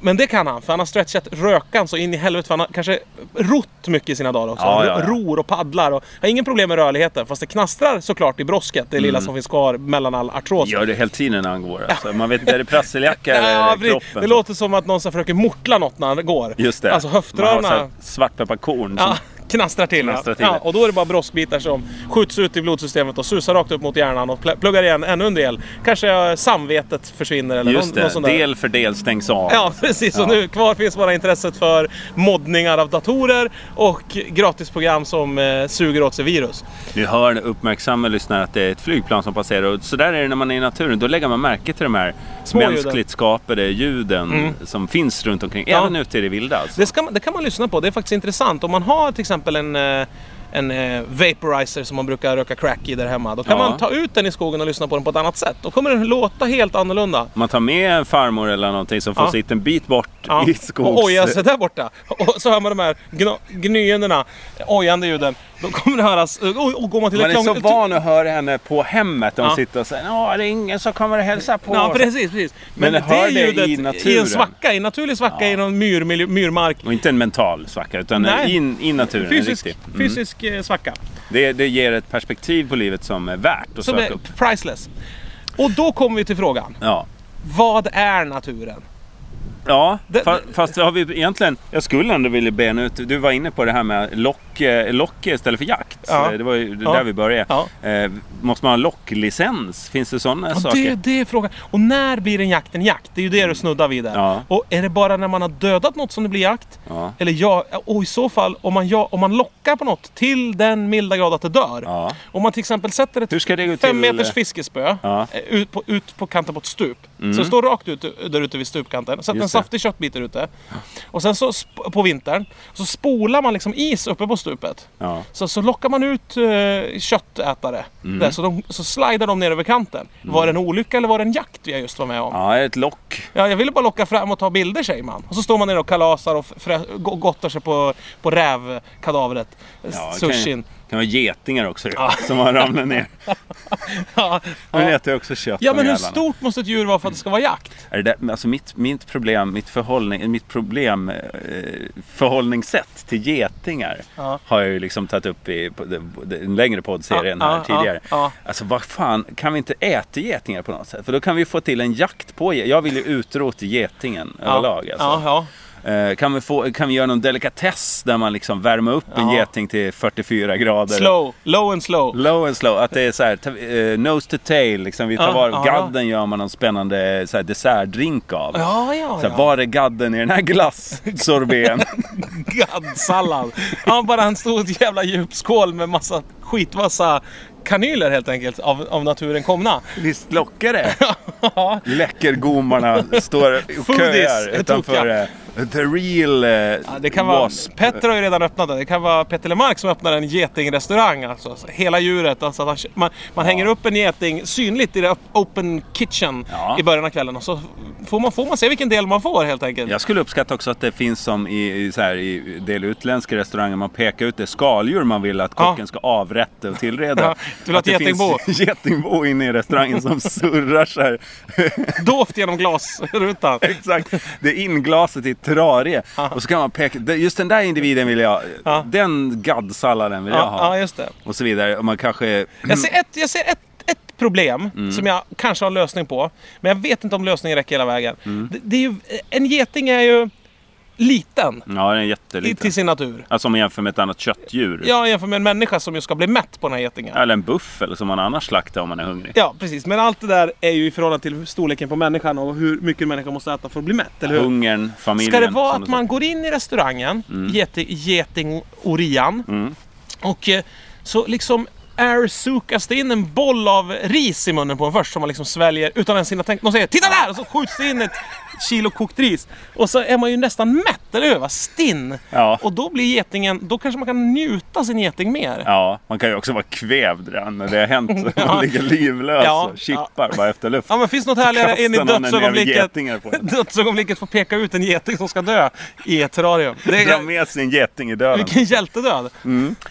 [SPEAKER 1] Men det kan han, för han har stretchat rökan så in i helvete. För han har kanske rott mycket i sina dagar också.
[SPEAKER 2] Ja,
[SPEAKER 1] Han
[SPEAKER 2] ja, ja.
[SPEAKER 1] Ror och paddlar och har ingen problem med rörligheten. Fast det knastrar såklart i brosket, det lilla som finns kvar mellan all artros.
[SPEAKER 2] Mm. Gör det hela tiden när han går. Alltså. Man vet inte, är det prasseljacka eller
[SPEAKER 1] Ja, precis.
[SPEAKER 2] kroppen?
[SPEAKER 1] det låter som att någon som försöker mortla något när han går.
[SPEAKER 2] Just det.
[SPEAKER 1] Alltså
[SPEAKER 2] Man har så
[SPEAKER 1] höftrörna
[SPEAKER 2] här svartpepparkorn. som-
[SPEAKER 1] ja, knastrar till. ja.
[SPEAKER 2] Knastrar till.
[SPEAKER 1] Ja, och då är det bara broskbitar som skjuts ut i blodsystemet och susar rakt upp mot hjärnan och pl- pluggar igen ännu en del. Kanske eh, samvetet försvinner eller någon,
[SPEAKER 2] Just
[SPEAKER 1] någon
[SPEAKER 2] det.
[SPEAKER 1] sån där.
[SPEAKER 2] Del för del stängs av.
[SPEAKER 1] Ja, precis. Och nu kvar finns bara intresset för moddningar av datorer och gratisprogram som eh, suger åt sig virus.
[SPEAKER 2] Nu hör uppmärksamma lyssnare att det är ett flygplan som passerar. Och så där är det när man är i naturen. Då lägger man märke till de här
[SPEAKER 1] Småljuden.
[SPEAKER 2] mänskligt skapade ljuden som finns runt omkring.
[SPEAKER 1] Mm. Ja.
[SPEAKER 2] Även ute i det vilda alltså.
[SPEAKER 1] Det, ska, man- det kan man lyssna på. Det är faktiskt intressant. Om man har till exempel en, eh, en eh, vaporizer som man brukar röka crack i där hemma. Då kan
[SPEAKER 2] Ja.
[SPEAKER 1] man ta ut den i skogen och lyssna på den på ett annat sätt. Då kommer den låta helt annorlunda.
[SPEAKER 2] Man tar med en farmor eller någonting som får
[SPEAKER 1] Ja.
[SPEAKER 2] sitta en bit bort
[SPEAKER 1] Ja.
[SPEAKER 2] i skogs...
[SPEAKER 1] Och oja sig där borta. Och så hör man de här gna- gnyendena, ojande ljuden. Då kommer det höras... Och, och går man till
[SPEAKER 2] Man
[SPEAKER 1] ett
[SPEAKER 2] är så
[SPEAKER 1] långt-
[SPEAKER 2] van att höra henne på hemmet. Hon
[SPEAKER 1] Ja.
[SPEAKER 2] sitter och säger ja det är ingen som kommer och hälsar på
[SPEAKER 1] Ja,
[SPEAKER 2] oss."
[SPEAKER 1] precis, precis.
[SPEAKER 2] Men hör det i naturen.
[SPEAKER 1] en svacka, i en naturlig svacka i någon myrmiljö, myrmark.
[SPEAKER 2] Och inte en mental svacka, utan
[SPEAKER 1] Nej.
[SPEAKER 2] in i naturen. en
[SPEAKER 1] Fysisk,
[SPEAKER 2] riktig. Mm.
[SPEAKER 1] fysisk eh, svacka.
[SPEAKER 2] Det, det ger ett perspektiv på livet som är värt att
[SPEAKER 1] Som
[SPEAKER 2] söka
[SPEAKER 1] är
[SPEAKER 2] upp.
[SPEAKER 1] priceless. Och då kommer vi till frågan.
[SPEAKER 2] Ja.
[SPEAKER 1] Vad är naturen?
[SPEAKER 2] Ja,
[SPEAKER 1] Det-
[SPEAKER 2] fa- fast har vi egentligen... Jag skulle ändå vilja bena ut... Du var inne på det här med lock, eh, lock istället för jakt.
[SPEAKER 1] Ja.
[SPEAKER 2] Eh, Det var ju där
[SPEAKER 1] Ja.
[SPEAKER 2] vi började.
[SPEAKER 1] Ja.
[SPEAKER 2] Eh, måste man ha locklicens? Finns det sådana
[SPEAKER 1] Ja,
[SPEAKER 2] saker?
[SPEAKER 1] det, det är frågan. Och när blir en jakt en jakt? Det är ju det du snuddar vid där.
[SPEAKER 2] Ja.
[SPEAKER 1] Och är det bara när man har dödat något som det blir jakt?
[SPEAKER 2] Ja.
[SPEAKER 1] Eller ja, och i så fall om man, ja, om man lockar på något till den milda grad att det dör.
[SPEAKER 2] Ja.
[SPEAKER 1] Om man till exempel sätter ett
[SPEAKER 2] Hur ska det gå
[SPEAKER 1] fem
[SPEAKER 2] till?
[SPEAKER 1] meters fiskespö
[SPEAKER 2] Ja. Mm.
[SPEAKER 1] eh, ut, på, ut på kanten på ett stup. Så det står rakt ut där ute vid stupkanten. Sätter
[SPEAKER 2] Just
[SPEAKER 1] en
[SPEAKER 2] det.
[SPEAKER 1] saftig köttbit där ute. Och sen så sp- på vintern så spolar man liksom is uppe på stupet.
[SPEAKER 2] Ja.
[SPEAKER 1] Så, så lockar man ut eh, köttätare.
[SPEAKER 2] Mm.
[SPEAKER 1] Där, så, de, så slidar de ner över kanten. Var det en olycka eller var det en jakt vi just var med om? Ja.
[SPEAKER 2] ja, ett lock.
[SPEAKER 1] jag ville bara locka fram och ta bilder säger man. Och så står man nere och kalasar och frä- go- gottar sig på, på rävkadavret.
[SPEAKER 2] Ja, det
[SPEAKER 1] Sushin.
[SPEAKER 2] Kan, kan vara getingar också ju, som har ramlat ner.
[SPEAKER 1] Ja.
[SPEAKER 2] De
[SPEAKER 1] Ja.
[SPEAKER 2] äter ju också kött.
[SPEAKER 1] ja
[SPEAKER 2] de
[SPEAKER 1] men hur
[SPEAKER 2] jävlarna.
[SPEAKER 1] stort måste ett djur vara för att det ska vara jakt?
[SPEAKER 2] Är det där, men alltså mitt, mitt problem, mitt, förhållning, mitt problem eh, förhållningssätt till getingar
[SPEAKER 1] Ja.
[SPEAKER 2] har jag ju liksom tagit upp i på- den- den längre poddserien
[SPEAKER 1] Ja,
[SPEAKER 2] här
[SPEAKER 1] ja,
[SPEAKER 2] tidigare.
[SPEAKER 1] ja,
[SPEAKER 2] Alltså vad fan, kan vi inte äta getingar på något sätt? För då kan vi få till en jakt på get- Jag vill ju utrota getingen överlag. Alltså.
[SPEAKER 1] Ja, ja.
[SPEAKER 2] Eh, Kan vi, få, kan vi göra någon delikatess där man liksom värmer upp en
[SPEAKER 1] Ja.
[SPEAKER 2] geting till 44 grader?
[SPEAKER 1] Slow, low and slow.
[SPEAKER 2] Low and slow, att det är så här, ta- eh, nose to tail, liksom vi tar
[SPEAKER 1] Ja,
[SPEAKER 2] var,
[SPEAKER 1] ja.
[SPEAKER 2] gadden gör man någon spännande så här, dessertdrink av.
[SPEAKER 1] Ja, ja,
[SPEAKER 2] så här,
[SPEAKER 1] ja.
[SPEAKER 2] Var är gadden i den här glassorbeten?
[SPEAKER 1] Gaddsallad. Ja, bara en stor jävla djupskål med massa skitvassa kanyler helt enkelt av, av naturen komna.
[SPEAKER 2] Visst lockar det? Läckergomarna står och
[SPEAKER 1] Foodies,
[SPEAKER 2] köar utanför
[SPEAKER 1] tokiga.
[SPEAKER 2] eh, the real eh,
[SPEAKER 1] Ja, det kan vara,
[SPEAKER 2] wasp.
[SPEAKER 1] Petter har ju redan öppnat den. Det kan vara Petter Lemark som öppnar en getingrestaurang. Alltså, Så hela djuret. Alltså, att han- man man hänger upp en geting synligt i det op- open kitchen
[SPEAKER 2] Ja.
[SPEAKER 1] i början av kvällen. Och så får man, får man se vilken del man får helt enkelt.
[SPEAKER 2] Jag skulle uppskatta också att det finns som i, i, så här, i del utländska restauranger, man pekar ut det skaldjur man vill att kocken
[SPEAKER 1] Ja.
[SPEAKER 2] ska avrätta och tillreda.
[SPEAKER 1] Ja, du vill ha
[SPEAKER 2] att det
[SPEAKER 1] ett getingbo.
[SPEAKER 2] finns getingbo inne i restaurangen som surrar så här.
[SPEAKER 1] Dovt genom glasrutan.
[SPEAKER 2] Exakt. Det är inglaset i trarie. Och så kan man peka, "Det- just den där individen vill jag,
[SPEAKER 1] Ja.
[SPEAKER 2] den gaddsalladen vill jag
[SPEAKER 1] Ja, ja,
[SPEAKER 2] ha.
[SPEAKER 1] just det.
[SPEAKER 2] Och så vidare. Och man kanske...
[SPEAKER 1] Jag ser ett, jag ser ett, ett problem som jag kanske har en lösning på. Men jag vet inte om lösningen räcker hela vägen. Det, det är ju, en geting är ju liten
[SPEAKER 2] Ja, den är
[SPEAKER 1] i-
[SPEAKER 2] jätteliten.
[SPEAKER 1] till sin natur.
[SPEAKER 2] Alltså om man jämför med ett annat köttdjur.
[SPEAKER 1] Ja, jämfört med en människa som ju ska bli mätt på den här getingen.
[SPEAKER 2] Eller en buffel som man annars slaktar om man är hungrig.
[SPEAKER 1] Ja, precis. Men allt det där är ju i förhållande till storleken på människan och hur mycket människan måste äta för att bli mätt, eller hur?
[SPEAKER 2] Hungern, familjen.
[SPEAKER 1] Ska det vara
[SPEAKER 2] som
[SPEAKER 1] att
[SPEAKER 2] du Mm.
[SPEAKER 1] man går in i restaurangen, geti- getingorian, och eh, så liksom airsukas det in en boll av ris i munnen på en först som man liksom sväljer utan ens hinna tänka. De säger “Titta där!” och så skjuts det in ett kilo kokt ris. Och så är man ju nästan mätt, eller hur? va? Stinn!
[SPEAKER 2] Ja.
[SPEAKER 1] Och då blir getingen, då kanske man kan njuta sin geting mer.
[SPEAKER 2] Ja, man kan ju också vara kvävd redan när det har hänt. Man
[SPEAKER 1] Ja.
[SPEAKER 2] ligger livlös
[SPEAKER 1] Ja,
[SPEAKER 2] och chippar bara efter luft.
[SPEAKER 1] Ja men finns något härligare än i
[SPEAKER 2] Kastar någon en jävel
[SPEAKER 1] dödsögonblicket?
[SPEAKER 2] getingar på en.
[SPEAKER 1] Dödsögonblicket får peka ut en geting som ska dö i ett terrarium. Det
[SPEAKER 2] Dra
[SPEAKER 1] är,
[SPEAKER 2] med sig en geting i döden.
[SPEAKER 1] vilken hjältedöd!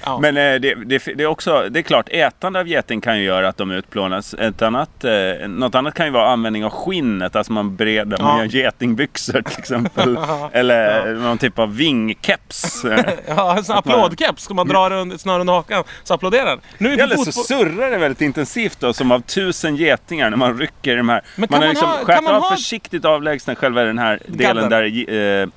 [SPEAKER 1] Ja.
[SPEAKER 2] Men eh, det, det, det, är också, det är klart, ätande av geting kan ju göra att de utplånas. Ett annat, eh, något annat kan ju vara användning av skinnet, alltså man breder, man
[SPEAKER 1] Ja.
[SPEAKER 2] gör getingbyxor till exempel. Eller någon typ av vingkeps. Eh,
[SPEAKER 1] Ja, en sån applådkeps. Ska man dra runt, ett snöre under hakan så applåderar den. Nu är vi
[SPEAKER 2] Eller
[SPEAKER 1] på
[SPEAKER 2] så
[SPEAKER 1] fotboll...
[SPEAKER 2] surrar det väldigt intensivt då, som av tusen getingar när man rycker i de här.
[SPEAKER 1] Men
[SPEAKER 2] man
[SPEAKER 1] kan
[SPEAKER 2] har
[SPEAKER 1] man
[SPEAKER 2] liksom
[SPEAKER 1] ha-
[SPEAKER 2] skärpt
[SPEAKER 1] kan man
[SPEAKER 2] av
[SPEAKER 1] ha-
[SPEAKER 2] försiktigt avlägsna själva den här delen
[SPEAKER 1] Gadden.
[SPEAKER 2] där ge- eh,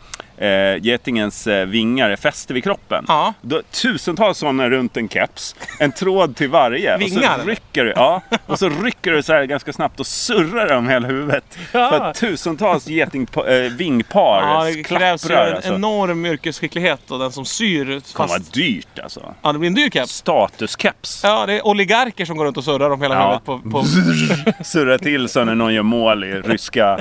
[SPEAKER 2] eh, getingens eh, vingar är fäster vid kroppen.
[SPEAKER 1] Ja.
[SPEAKER 2] Då, tusentals sådana runt en keps, en tråd till varje.
[SPEAKER 1] Vingar,
[SPEAKER 2] Och så
[SPEAKER 1] eller?
[SPEAKER 2] rycker du, ja, och så rycker du så här ganska snabbt och surrar dem hela huvudet.
[SPEAKER 1] Ja.
[SPEAKER 2] För att tusentals getingvingpar eh, vingpar
[SPEAKER 1] Ja, det krävs ju
[SPEAKER 2] klapprar.
[SPEAKER 1] en
[SPEAKER 2] Alltså. Det
[SPEAKER 1] enorm yrkesskicklighet och den som syr
[SPEAKER 2] kommer vara
[SPEAKER 1] fast...
[SPEAKER 2] dyrt alltså.
[SPEAKER 1] Ja, det blir en dyr keps.
[SPEAKER 2] Statuskeps.
[SPEAKER 1] Ja, det är oligarker som går runt och surrar om hela
[SPEAKER 2] Ja.
[SPEAKER 1] huvudet på, på
[SPEAKER 2] surra till så när någon gör mål i ryska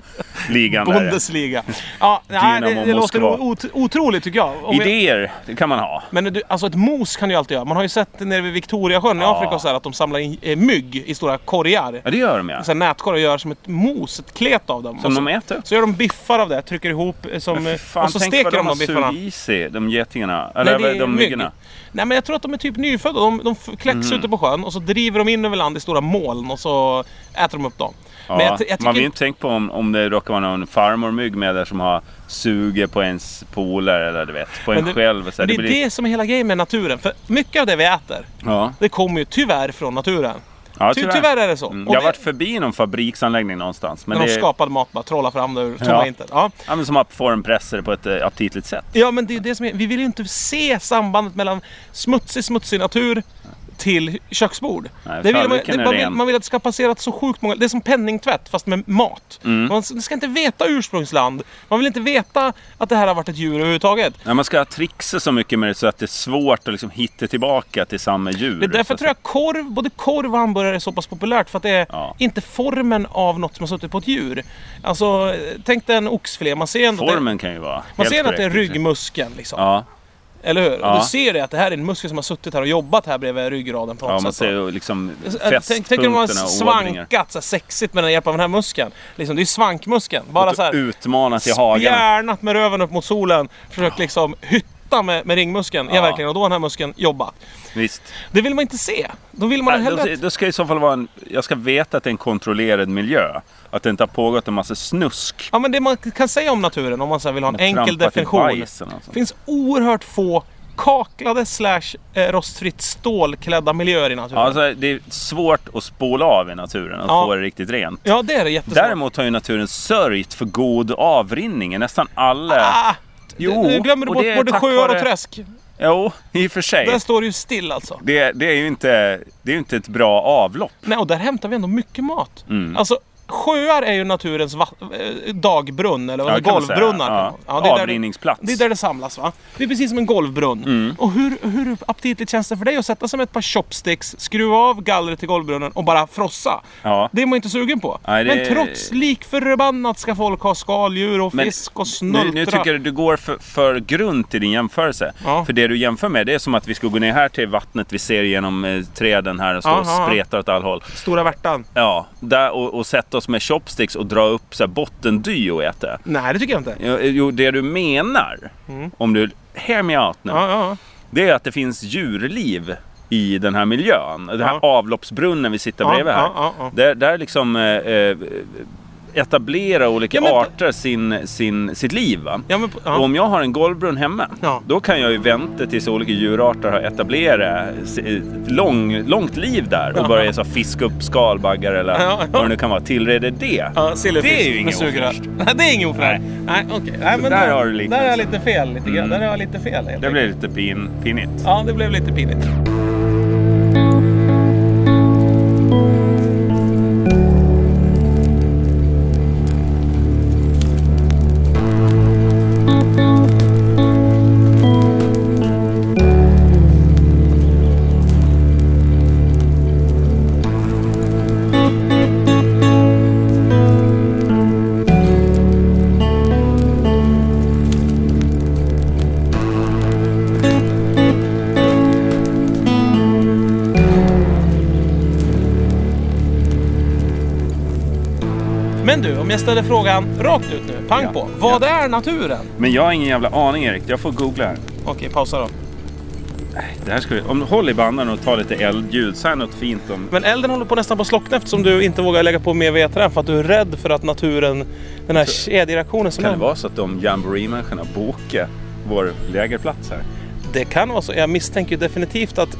[SPEAKER 2] ligan. Där.
[SPEAKER 1] Bundesliga. Ja, nej, det,
[SPEAKER 2] Dynamo
[SPEAKER 1] det låter
[SPEAKER 2] Moskva.
[SPEAKER 1] ot- otroligt tycker jag. Om jag-
[SPEAKER 2] Idéer, det kan man ha.
[SPEAKER 1] Men du, alltså ett mos kan du ju alltid göra. Man har ju sett det nere vid Victoriasjön i
[SPEAKER 2] Ja.
[SPEAKER 1] Afrika och så här, att de samlar in eh, mygg i stora korgar.
[SPEAKER 2] Ja, det gör de ja.
[SPEAKER 1] Så här nätkorgar och gör som ett mos, ett klet av dem.
[SPEAKER 2] Som
[SPEAKER 1] och så,
[SPEAKER 2] de äter upp.
[SPEAKER 1] så gör de biffar av det, trycker ihop eh, som,
[SPEAKER 2] Fy
[SPEAKER 1] eh,
[SPEAKER 2] Fan,
[SPEAKER 1] och så
[SPEAKER 2] tänk
[SPEAKER 1] steker
[SPEAKER 2] vad de
[SPEAKER 1] de
[SPEAKER 2] har
[SPEAKER 1] de biffarna.
[SPEAKER 2] sugit i sig, de getingarna. Eller
[SPEAKER 1] det är
[SPEAKER 2] de
[SPEAKER 1] mygg.
[SPEAKER 2] myggorna. Mm.
[SPEAKER 1] Nej men jag tror att de är typ nyfödda. De, de f- kläcks ute på sjön och så driver de in över land i stora moln och så äter de upp dem.
[SPEAKER 2] Ja,
[SPEAKER 1] men jag, t- jag
[SPEAKER 2] man vill ju
[SPEAKER 1] tycker...
[SPEAKER 2] inte tänka på om, om det råkar vara någon farmormygg med där som har suger på ens polare eller du vet, på en
[SPEAKER 1] men
[SPEAKER 2] själv. Så
[SPEAKER 1] men
[SPEAKER 2] här,
[SPEAKER 1] det är det som är hela grejen med naturen. För mycket av det vi äter,
[SPEAKER 2] Ja.
[SPEAKER 1] det kommer ju tyvärr från naturen.
[SPEAKER 2] Ja,
[SPEAKER 1] Ty- tyvärr är det så.
[SPEAKER 2] Mm.
[SPEAKER 1] Och
[SPEAKER 2] Jag har
[SPEAKER 1] det-
[SPEAKER 2] varit förbi någon fabriksanläggning någonstans. Men
[SPEAKER 1] När
[SPEAKER 2] det
[SPEAKER 1] de
[SPEAKER 2] är,
[SPEAKER 1] skapade mat, bara trolla fram det ur tomma
[SPEAKER 2] Ja.
[SPEAKER 1] intet. Ja.
[SPEAKER 2] ja, men som har formpressare på ett eh, aptitligt sätt.
[SPEAKER 1] ja, men det är ju det som är, vi vill ju inte se sambandet mellan smutsig, smutsig natur till köksbord.
[SPEAKER 2] Nej,
[SPEAKER 1] det vill man,
[SPEAKER 2] tallriken
[SPEAKER 1] det,
[SPEAKER 2] är
[SPEAKER 1] man, vill,
[SPEAKER 2] ren.
[SPEAKER 1] man vill att det ska ha passerat så sjukt många... Det är som penningtvätt fast med mat.
[SPEAKER 2] Mm.
[SPEAKER 1] Man s- ska inte veta ursprungsland. Man vill inte veta att det här har varit ett djur överhuvudtaget.
[SPEAKER 2] Ja, man ska trixa så mycket med det så att det är svårt att liksom hitta tillbaka till samma djur.
[SPEAKER 1] Det är därför
[SPEAKER 2] Så-
[SPEAKER 1] tror jag korv, både korv och hamburgare är så pass populärt. För att det är
[SPEAKER 2] Ja.
[SPEAKER 1] inte formen av något som har suttit på ett djur. Alltså, tänk dig en oxfilé. Man ser ändå, att det,
[SPEAKER 2] Formen kan ju vara
[SPEAKER 1] man
[SPEAKER 2] helt
[SPEAKER 1] ser att det är
[SPEAKER 2] korrekt.
[SPEAKER 1] ryggmuskeln liksom.
[SPEAKER 2] Ja,
[SPEAKER 1] Eller hur?
[SPEAKER 2] Ja.
[SPEAKER 1] Och du ser det att det här är en muskel som har suttit här och jobbat här bredvid ryggraden på något
[SPEAKER 2] ja man
[SPEAKER 1] sätt. Äh,
[SPEAKER 2] ser ju liksom
[SPEAKER 1] alltså. Tänk- Tänk om
[SPEAKER 2] fästpunkterna
[SPEAKER 1] man
[SPEAKER 2] och ådringar.
[SPEAKER 1] svankat så här sexigt med den hjälp av den här muskeln. Liksom, det är ju svankmuskeln. Bara så
[SPEAKER 2] Och
[SPEAKER 1] här
[SPEAKER 2] utmanas i hagen.
[SPEAKER 1] spjärnat med röven upp mot solen. Försökt liksom hytta med, med ringmuskeln. Ja.
[SPEAKER 2] Ja.
[SPEAKER 1] verkligen. Och då har den här muskeln jobbat.
[SPEAKER 2] Visst.
[SPEAKER 1] Det vill man inte se. Då vill man
[SPEAKER 2] Nej,
[SPEAKER 1] hellre...
[SPEAKER 2] då,
[SPEAKER 1] att-
[SPEAKER 2] då ska i så fall vara en... Jag ska veta att det är en kontrollerad miljö. Att det inte har pågått en massa snusk.
[SPEAKER 1] Ja men det man kan säga om naturen om man så här vill ha en enkel
[SPEAKER 2] trampat i
[SPEAKER 1] definition.
[SPEAKER 2] bajsen och sånt.
[SPEAKER 1] Det finns oerhört få kaklade slash eh, rostfritt stålklädda miljöer i naturen. Ja,
[SPEAKER 2] Alltså, det är svårt att spola av i naturen och
[SPEAKER 1] Ja.
[SPEAKER 2] få det riktigt rent.
[SPEAKER 1] det är det jättesvårt.
[SPEAKER 2] Däremot har ju naturen sörjt för god avrinning i nästan alla...
[SPEAKER 1] Ah,
[SPEAKER 2] Jo,
[SPEAKER 1] du glömmer du
[SPEAKER 2] och
[SPEAKER 1] bort
[SPEAKER 2] det är
[SPEAKER 1] både
[SPEAKER 2] tack
[SPEAKER 1] sjöar och
[SPEAKER 2] vare-
[SPEAKER 1] träsk.
[SPEAKER 2] Jo, i och för sig.
[SPEAKER 1] Där står det ju still alltså.
[SPEAKER 2] Det, det är ju inte, det är ju inte ett bra avlopp.
[SPEAKER 1] Nej, och där hämtar vi ändå mycket mat.
[SPEAKER 2] Mm.
[SPEAKER 1] Alltså, sjöar är ju naturens va- eh, dagbrunn, eller vad
[SPEAKER 2] Ja,
[SPEAKER 1] ja,
[SPEAKER 2] kan man säga.
[SPEAKER 1] golvbrunnar.
[SPEAKER 2] Ja.
[SPEAKER 1] Ja, det är där det-
[SPEAKER 2] Avrinningsplats. Mm.
[SPEAKER 1] Det är där det samlas va? Det är precis som en golvbrunn. Och hur, hur aptitligt känns det för dig att sätta sig med ett par chopsticks, skruva av gallret till golvbrunnen och bara frossa?
[SPEAKER 2] Ja.
[SPEAKER 1] Det är man inte sugen på.
[SPEAKER 2] Nej, det-
[SPEAKER 1] Men trots lik förbannat ska folk ha skaldjur och
[SPEAKER 2] Men
[SPEAKER 1] fisk och snultra.
[SPEAKER 2] Nu, nu tycker jag du går för, för grunt i din jämförelse.
[SPEAKER 1] Ja.
[SPEAKER 2] För det du jämför med, det är som att vi skulle gå ner här till vattnet vi ser genom eh, träden här och stå och
[SPEAKER 1] Aha.
[SPEAKER 2] spretar åt all håll.
[SPEAKER 1] Stora värtan.
[SPEAKER 2] Ja, där och, och sätta oss med chopsticks och dra upp så här, bottendy och äta.
[SPEAKER 1] Nej, det tycker jag inte.
[SPEAKER 2] Jo, Jo, det du menar,
[SPEAKER 1] Mm.
[SPEAKER 2] om du hear me out nu,
[SPEAKER 1] Ja, ja,
[SPEAKER 2] det är att det finns djurliv i den här miljön. Den här
[SPEAKER 1] Ja.
[SPEAKER 2] avloppsbrunnen vi sitter
[SPEAKER 1] Ja,
[SPEAKER 2] bredvid här.
[SPEAKER 1] ja, ja, ja.
[SPEAKER 2] Där, där liksom eh, eh, etablerar olika
[SPEAKER 1] Ja, men-
[SPEAKER 2] arter sin, sin, sitt liv. Va?
[SPEAKER 1] ja. men,
[SPEAKER 2] Och
[SPEAKER 1] ja.
[SPEAKER 2] om jag har en golvbrunn hemma,
[SPEAKER 1] Ja.
[SPEAKER 2] då kan jag ju vänta tills olika djurarter har etablerat si- lång, långt liv där och
[SPEAKER 1] Ja.
[SPEAKER 2] börja så, fiska upp skalbaggar eller
[SPEAKER 1] Ja, ja.
[SPEAKER 2] vad det nu kan vara. Tillreder det.
[SPEAKER 1] Ja, silverfisk
[SPEAKER 2] Det är ju ingen
[SPEAKER 1] med sugrör.
[SPEAKER 2] ofräscht.
[SPEAKER 1] Nej, det är ingen ofräscht. Nej, okej. Nej, men
[SPEAKER 2] där
[SPEAKER 1] då-
[SPEAKER 2] har du liknelsen.
[SPEAKER 1] Där har jag lite fel. Lite grann. Där har jag lite fel. helt
[SPEAKER 2] Det
[SPEAKER 1] enkelt.
[SPEAKER 2] blir lite pin, pinigt.
[SPEAKER 1] Ja, det blev lite pinigt. Men du, om jag ställer frågan rakt ut nu, pang
[SPEAKER 2] Ja.
[SPEAKER 1] på. Vad är naturen?
[SPEAKER 2] Men jag har ingen jävla aning Erik, jag får googla här.
[SPEAKER 1] Okej, pausa då.
[SPEAKER 2] Det här ska vi, om, håll i banden och ta lite eldljud, säg något fint om...
[SPEAKER 1] Men elden håller på nästan på att slockna eftersom du inte vågar lägga på mer vedträn för att du är rädd för att naturen, den här kedjereaktionen som
[SPEAKER 2] Kan det
[SPEAKER 1] är-
[SPEAKER 2] vara så att de jamboree-människorna bokar vår lägerplats här?
[SPEAKER 1] Det kan vara så. Jag misstänker ju definitivt att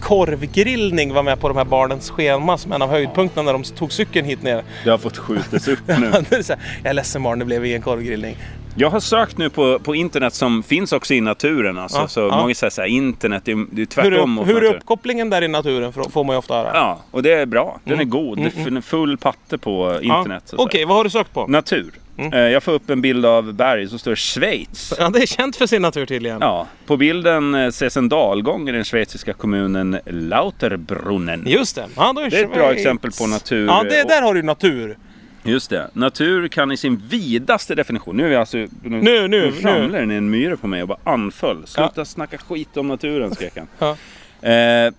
[SPEAKER 1] korvgrillning var med på de här barnens schema som en av höjdpunkterna när de tog cykeln hit ner.
[SPEAKER 2] Det har fått skjutas upp nu.
[SPEAKER 1] Det är så här, jag är ledsen barn, det blev ingen korvgrillning.
[SPEAKER 2] Jag har sökt nu på, på internet som finns också i naturen. Alltså.
[SPEAKER 1] Ja,
[SPEAKER 2] så
[SPEAKER 1] ja.
[SPEAKER 2] många säger så här, internet det är, det är
[SPEAKER 1] Hur
[SPEAKER 2] tvärtom
[SPEAKER 1] är,
[SPEAKER 2] mot
[SPEAKER 1] upp, hur är
[SPEAKER 2] naturen.
[SPEAKER 1] uppkopplingen där i naturen Frå- får man ju ofta höra.
[SPEAKER 2] Ja, och det är bra. Den
[SPEAKER 1] Mm.
[SPEAKER 2] är god. Det är f- full patte på
[SPEAKER 1] Ja.
[SPEAKER 2] internet. så att
[SPEAKER 1] Okej, Mm.
[SPEAKER 2] säga.
[SPEAKER 1] vad har du sökt på?
[SPEAKER 2] Natur. Eh, Jag får upp en bild av berg som står Schweiz.
[SPEAKER 1] Ja, det är känt för sin natur tydligen.
[SPEAKER 2] Ja, på bilden eh, ses en dalgång i den schweiziska kommunen Lauterbrunnen.
[SPEAKER 1] Just det. Ja, då är
[SPEAKER 2] Det är ett bra
[SPEAKER 1] Schweiz.
[SPEAKER 2] exempel på natur.
[SPEAKER 1] Ja, det, där har du natur.
[SPEAKER 2] Just det. Natur kan i sin vidaste definition... Nu är vi alltså... Nu,
[SPEAKER 1] nu, nu.
[SPEAKER 2] ramlade den i en myra på mig och bara anföll. Sluta snacka skit om naturen, skrek han.
[SPEAKER 1] Ja.
[SPEAKER 2] Eh, eh,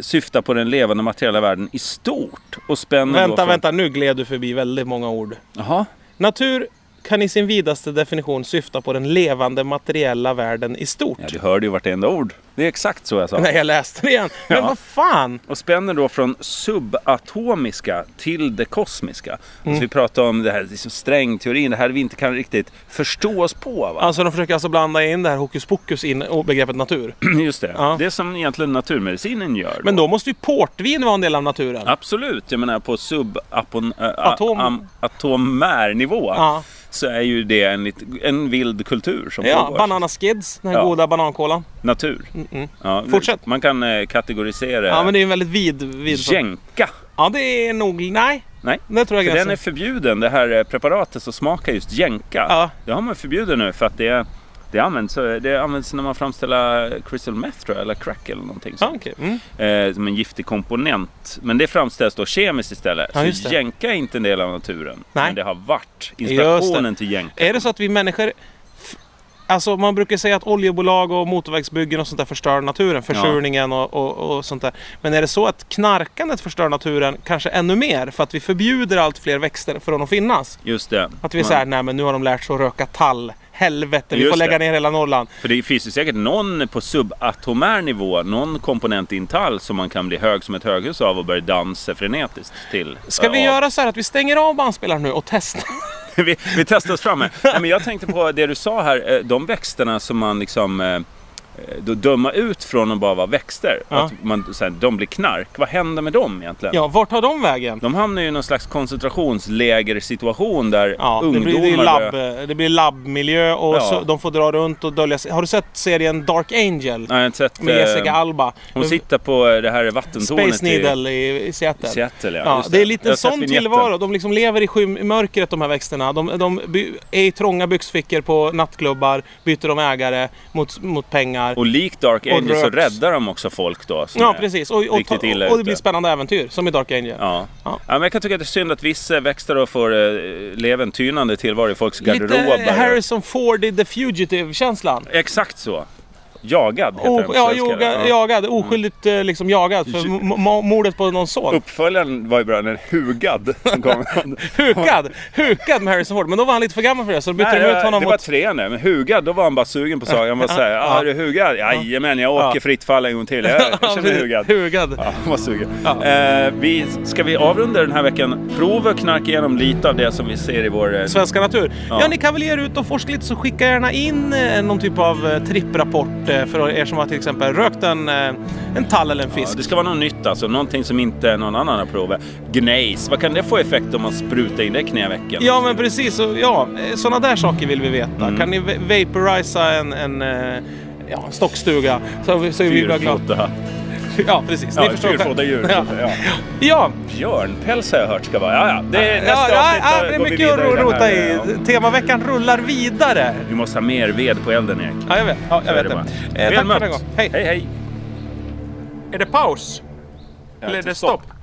[SPEAKER 2] syftar på den levande materiella världen i stort och spänner då
[SPEAKER 1] Vänta,
[SPEAKER 2] från-
[SPEAKER 1] vänta, nu gled du förbi väldigt många ord.
[SPEAKER 2] Jaha.
[SPEAKER 1] Natur kan i sin vidaste definition syfta på den levande materiella världen i stort.
[SPEAKER 2] Ja, du hörde ju vartenda ord. Det är exakt så jag sa.
[SPEAKER 1] Nej, jag läste det igen. Men
[SPEAKER 2] Ja.
[SPEAKER 1] vad fan!
[SPEAKER 2] Och spänner då från subatomiska till det kosmiska.
[SPEAKER 1] Mm.
[SPEAKER 2] Alltså vi pratar om det här liksom strängteorin, det här vi inte kan riktigt förstå oss på. Va?
[SPEAKER 1] Alltså de försöker alltså blanda in det här hokus pokus in och begreppet natur.
[SPEAKER 2] Just det.
[SPEAKER 1] Ja.
[SPEAKER 2] Det som egentligen naturmedicinen gör.
[SPEAKER 1] Men då måste ju portvin vara en del av naturen.
[SPEAKER 2] Absolut, jag menar på
[SPEAKER 1] Atom.
[SPEAKER 2] subatomär nivå
[SPEAKER 1] Ja.
[SPEAKER 2] så är ju det en, lit- en vild kultur som
[SPEAKER 1] Ja,
[SPEAKER 2] pågår.
[SPEAKER 1] bananaskids, den här
[SPEAKER 2] Ja.
[SPEAKER 1] goda banankolan.
[SPEAKER 2] Natur. Ja,
[SPEAKER 1] mm. Fortsätt.
[SPEAKER 2] Man kan eh, kategorisera
[SPEAKER 1] Ja, men det är ju en väldigt vid... vid
[SPEAKER 2] jänka.
[SPEAKER 1] Ja, det är nog... Nej,
[SPEAKER 2] Nej,
[SPEAKER 1] det tror jag
[SPEAKER 2] för den
[SPEAKER 1] gränsen.
[SPEAKER 2] är förbjuden. Det här eh, preparatet som smakar just jänka.
[SPEAKER 1] Ja.
[SPEAKER 2] Det har man förbjuden nu för att det, det, används, eh, det används när man framställer crystal meth tror jag, eller crack eller någonting
[SPEAKER 1] Ja,
[SPEAKER 2] sånt.
[SPEAKER 1] okej. mm.
[SPEAKER 2] Eh, som en giftig komponent. Men det framställs då kemiskt istället.
[SPEAKER 1] Ja, just
[SPEAKER 2] så
[SPEAKER 1] det.
[SPEAKER 2] jänka är inte en del av naturen.
[SPEAKER 1] Nej.
[SPEAKER 2] Men det har varit
[SPEAKER 1] Just Eh,
[SPEAKER 2] inspirationen till jänka.
[SPEAKER 1] Är det så att vi människor... f- Alltså man brukar säga att oljebolag och motorvägsbyggen och sånt där förstör naturen. Försurningen och, och, och sånt där. Men är det så att knarkandet förstör naturen kanske ännu mer? För att vi förbjuder allt fler växter från att finnas.
[SPEAKER 2] Just det. Mm.
[SPEAKER 1] Att vi är
[SPEAKER 2] Man-
[SPEAKER 1] såhär, nej men nu har de lärt sig att röka tall. Helvete, vi
[SPEAKER 2] Just
[SPEAKER 1] får lägga
[SPEAKER 2] det.
[SPEAKER 1] ner hela Norrland.
[SPEAKER 2] För det finns ju säkert någon på subatomär nivå, någon komponent i en tall som man kan bli hög som ett höghus av och börja dansa frenetiskt till.
[SPEAKER 1] Ska
[SPEAKER 2] eh,
[SPEAKER 1] vi
[SPEAKER 2] av.
[SPEAKER 1] göra så här att vi stänger av bandspelaren nu och testar?
[SPEAKER 2] vi, vi testar oss fram här. Nej, men jag tänkte på det du sa här, eh, de växterna som man liksom eh, eh, då döma ut från att bara vara växter.
[SPEAKER 1] Ja.
[SPEAKER 2] Att man, så här, de blir knark. Vad händer med dem egentligen?
[SPEAKER 1] Ja, vart tar de vägen?
[SPEAKER 2] De hamnar ju i någon slags koncentrationslägersituation där
[SPEAKER 1] Ja, det
[SPEAKER 2] ungdomar...
[SPEAKER 1] blir, det, är
[SPEAKER 2] börjar-
[SPEAKER 1] labb, det blir labbmiljö och
[SPEAKER 2] Ja.
[SPEAKER 1] så, de får dra runt och dölja sig. Har du sett serien Dark Angel?
[SPEAKER 2] Nej, jag har inte sett...
[SPEAKER 1] Med
[SPEAKER 2] eh,
[SPEAKER 1] Jessica Alba.
[SPEAKER 2] Hon sitter på eh, det här vattentornet
[SPEAKER 1] Space
[SPEAKER 2] i-
[SPEAKER 1] Needle i, i Seattle.
[SPEAKER 2] i Seattle. Ja,
[SPEAKER 1] Ja,
[SPEAKER 2] just
[SPEAKER 1] det är lite
[SPEAKER 2] Jag har
[SPEAKER 1] en
[SPEAKER 2] sett
[SPEAKER 1] sån
[SPEAKER 2] vignetten.
[SPEAKER 1] tillvaro. De liksom lever i, skym, i mörkret de här växterna. De, de by, är i trånga byxfickor på nattklubbar, byter de ägare mot, mot pengar.
[SPEAKER 2] Och likt Dark
[SPEAKER 1] Och
[SPEAKER 2] Angel så
[SPEAKER 1] röks.
[SPEAKER 2] räddar de också folk då. som
[SPEAKER 1] ja,
[SPEAKER 2] är-
[SPEAKER 1] precis. Och, och,
[SPEAKER 2] riktigt illa
[SPEAKER 1] och, och det
[SPEAKER 2] ute.
[SPEAKER 1] blir spännande äventyr, som i Dark Angel.
[SPEAKER 2] Ja.
[SPEAKER 1] Ja.
[SPEAKER 2] Ja. men jag kan tycka att det är synd att vissa växter då får eh, leva en tynande tillvaro i folks garderober.
[SPEAKER 1] Lite eh, Harrison Ford i The Fugitive-känslan.
[SPEAKER 2] Exakt så. Jagad heter den
[SPEAKER 1] O-
[SPEAKER 2] på
[SPEAKER 1] Oh, ja,
[SPEAKER 2] svenska,
[SPEAKER 1] joga,
[SPEAKER 2] eller?
[SPEAKER 1] jagad. Oskyldigt eh, liksom jagad för
[SPEAKER 2] Ju-
[SPEAKER 1] m- m- mordet på någon son.
[SPEAKER 2] Uppföljaren var ju bra, den Hugad. Som kom.
[SPEAKER 1] Hukad! Hukad med Harrison Ford. Men då var han lite för gammal för det, så då bytte
[SPEAKER 2] Nej,
[SPEAKER 1] de ut
[SPEAKER 2] det var
[SPEAKER 1] honom mot...
[SPEAKER 2] tre nu, men Hugad, då var han bara sugen på saker. Han var såhär, ah, är du Hugad? Jajamän, jag åker
[SPEAKER 1] Ja.
[SPEAKER 2] fritt fall en gång till. Jag, jag känner mig Hugad.
[SPEAKER 1] Hugad.
[SPEAKER 2] Ja, han var sugen. Eh, vi, ska vi avrunda den här veckan? Prova att knarka igenom lite av det som vi ser i vår... eh,
[SPEAKER 1] Svenska Natur. Ja.
[SPEAKER 2] Ja.
[SPEAKER 1] ni kan väl ge er ut och forska lite så skicka gärna in eh, någon typ av eh, tripprapport eh, för er som har till exempel rökt en, eh, en tall eller en
[SPEAKER 2] Ja,
[SPEAKER 1] fisk.
[SPEAKER 2] det ska vara något nytt alltså, någonting som inte någon annan har provat. Gnejs, vad kan det få effekt om man sprutar in det i knävecken?
[SPEAKER 1] Ja men precis, Så- ja, sådana där saker vill vi veta.
[SPEAKER 2] Mm.
[SPEAKER 1] Kan ni va- vaporisa en, en, eh, ja, en stockstuga så, är vi- så är vi bara glada.
[SPEAKER 2] Fyrfota.
[SPEAKER 1] Ja precis, ni
[SPEAKER 2] Ja,
[SPEAKER 1] förstår själv.
[SPEAKER 2] fyrfota djur.
[SPEAKER 1] Ja.
[SPEAKER 2] Ja.
[SPEAKER 1] Ja,
[SPEAKER 2] Björnpäls har jag hört ska vara... Ja, ja. Det är
[SPEAKER 1] ja,
[SPEAKER 2] nästa
[SPEAKER 1] ja,
[SPEAKER 2] avsnitt.
[SPEAKER 1] ja,
[SPEAKER 2] då
[SPEAKER 1] det är
[SPEAKER 2] går vi
[SPEAKER 1] mycket att
[SPEAKER 2] vidare i den
[SPEAKER 1] rota
[SPEAKER 2] här, eh,
[SPEAKER 1] i.
[SPEAKER 2] ja.
[SPEAKER 1] Temaveckan rullar vidare.
[SPEAKER 2] Vi måste ha mer ved på elden, Erik.
[SPEAKER 1] Ja, jag vet. Ja, jag
[SPEAKER 2] Så är
[SPEAKER 1] vet det.
[SPEAKER 2] bara.
[SPEAKER 1] Eh,
[SPEAKER 2] Väl
[SPEAKER 1] tack för
[SPEAKER 2] mött.
[SPEAKER 1] den här gången. Hej.
[SPEAKER 2] hej, hej.
[SPEAKER 1] Är det paus?
[SPEAKER 2] Ja,
[SPEAKER 1] Eller är
[SPEAKER 2] till
[SPEAKER 1] det stopp?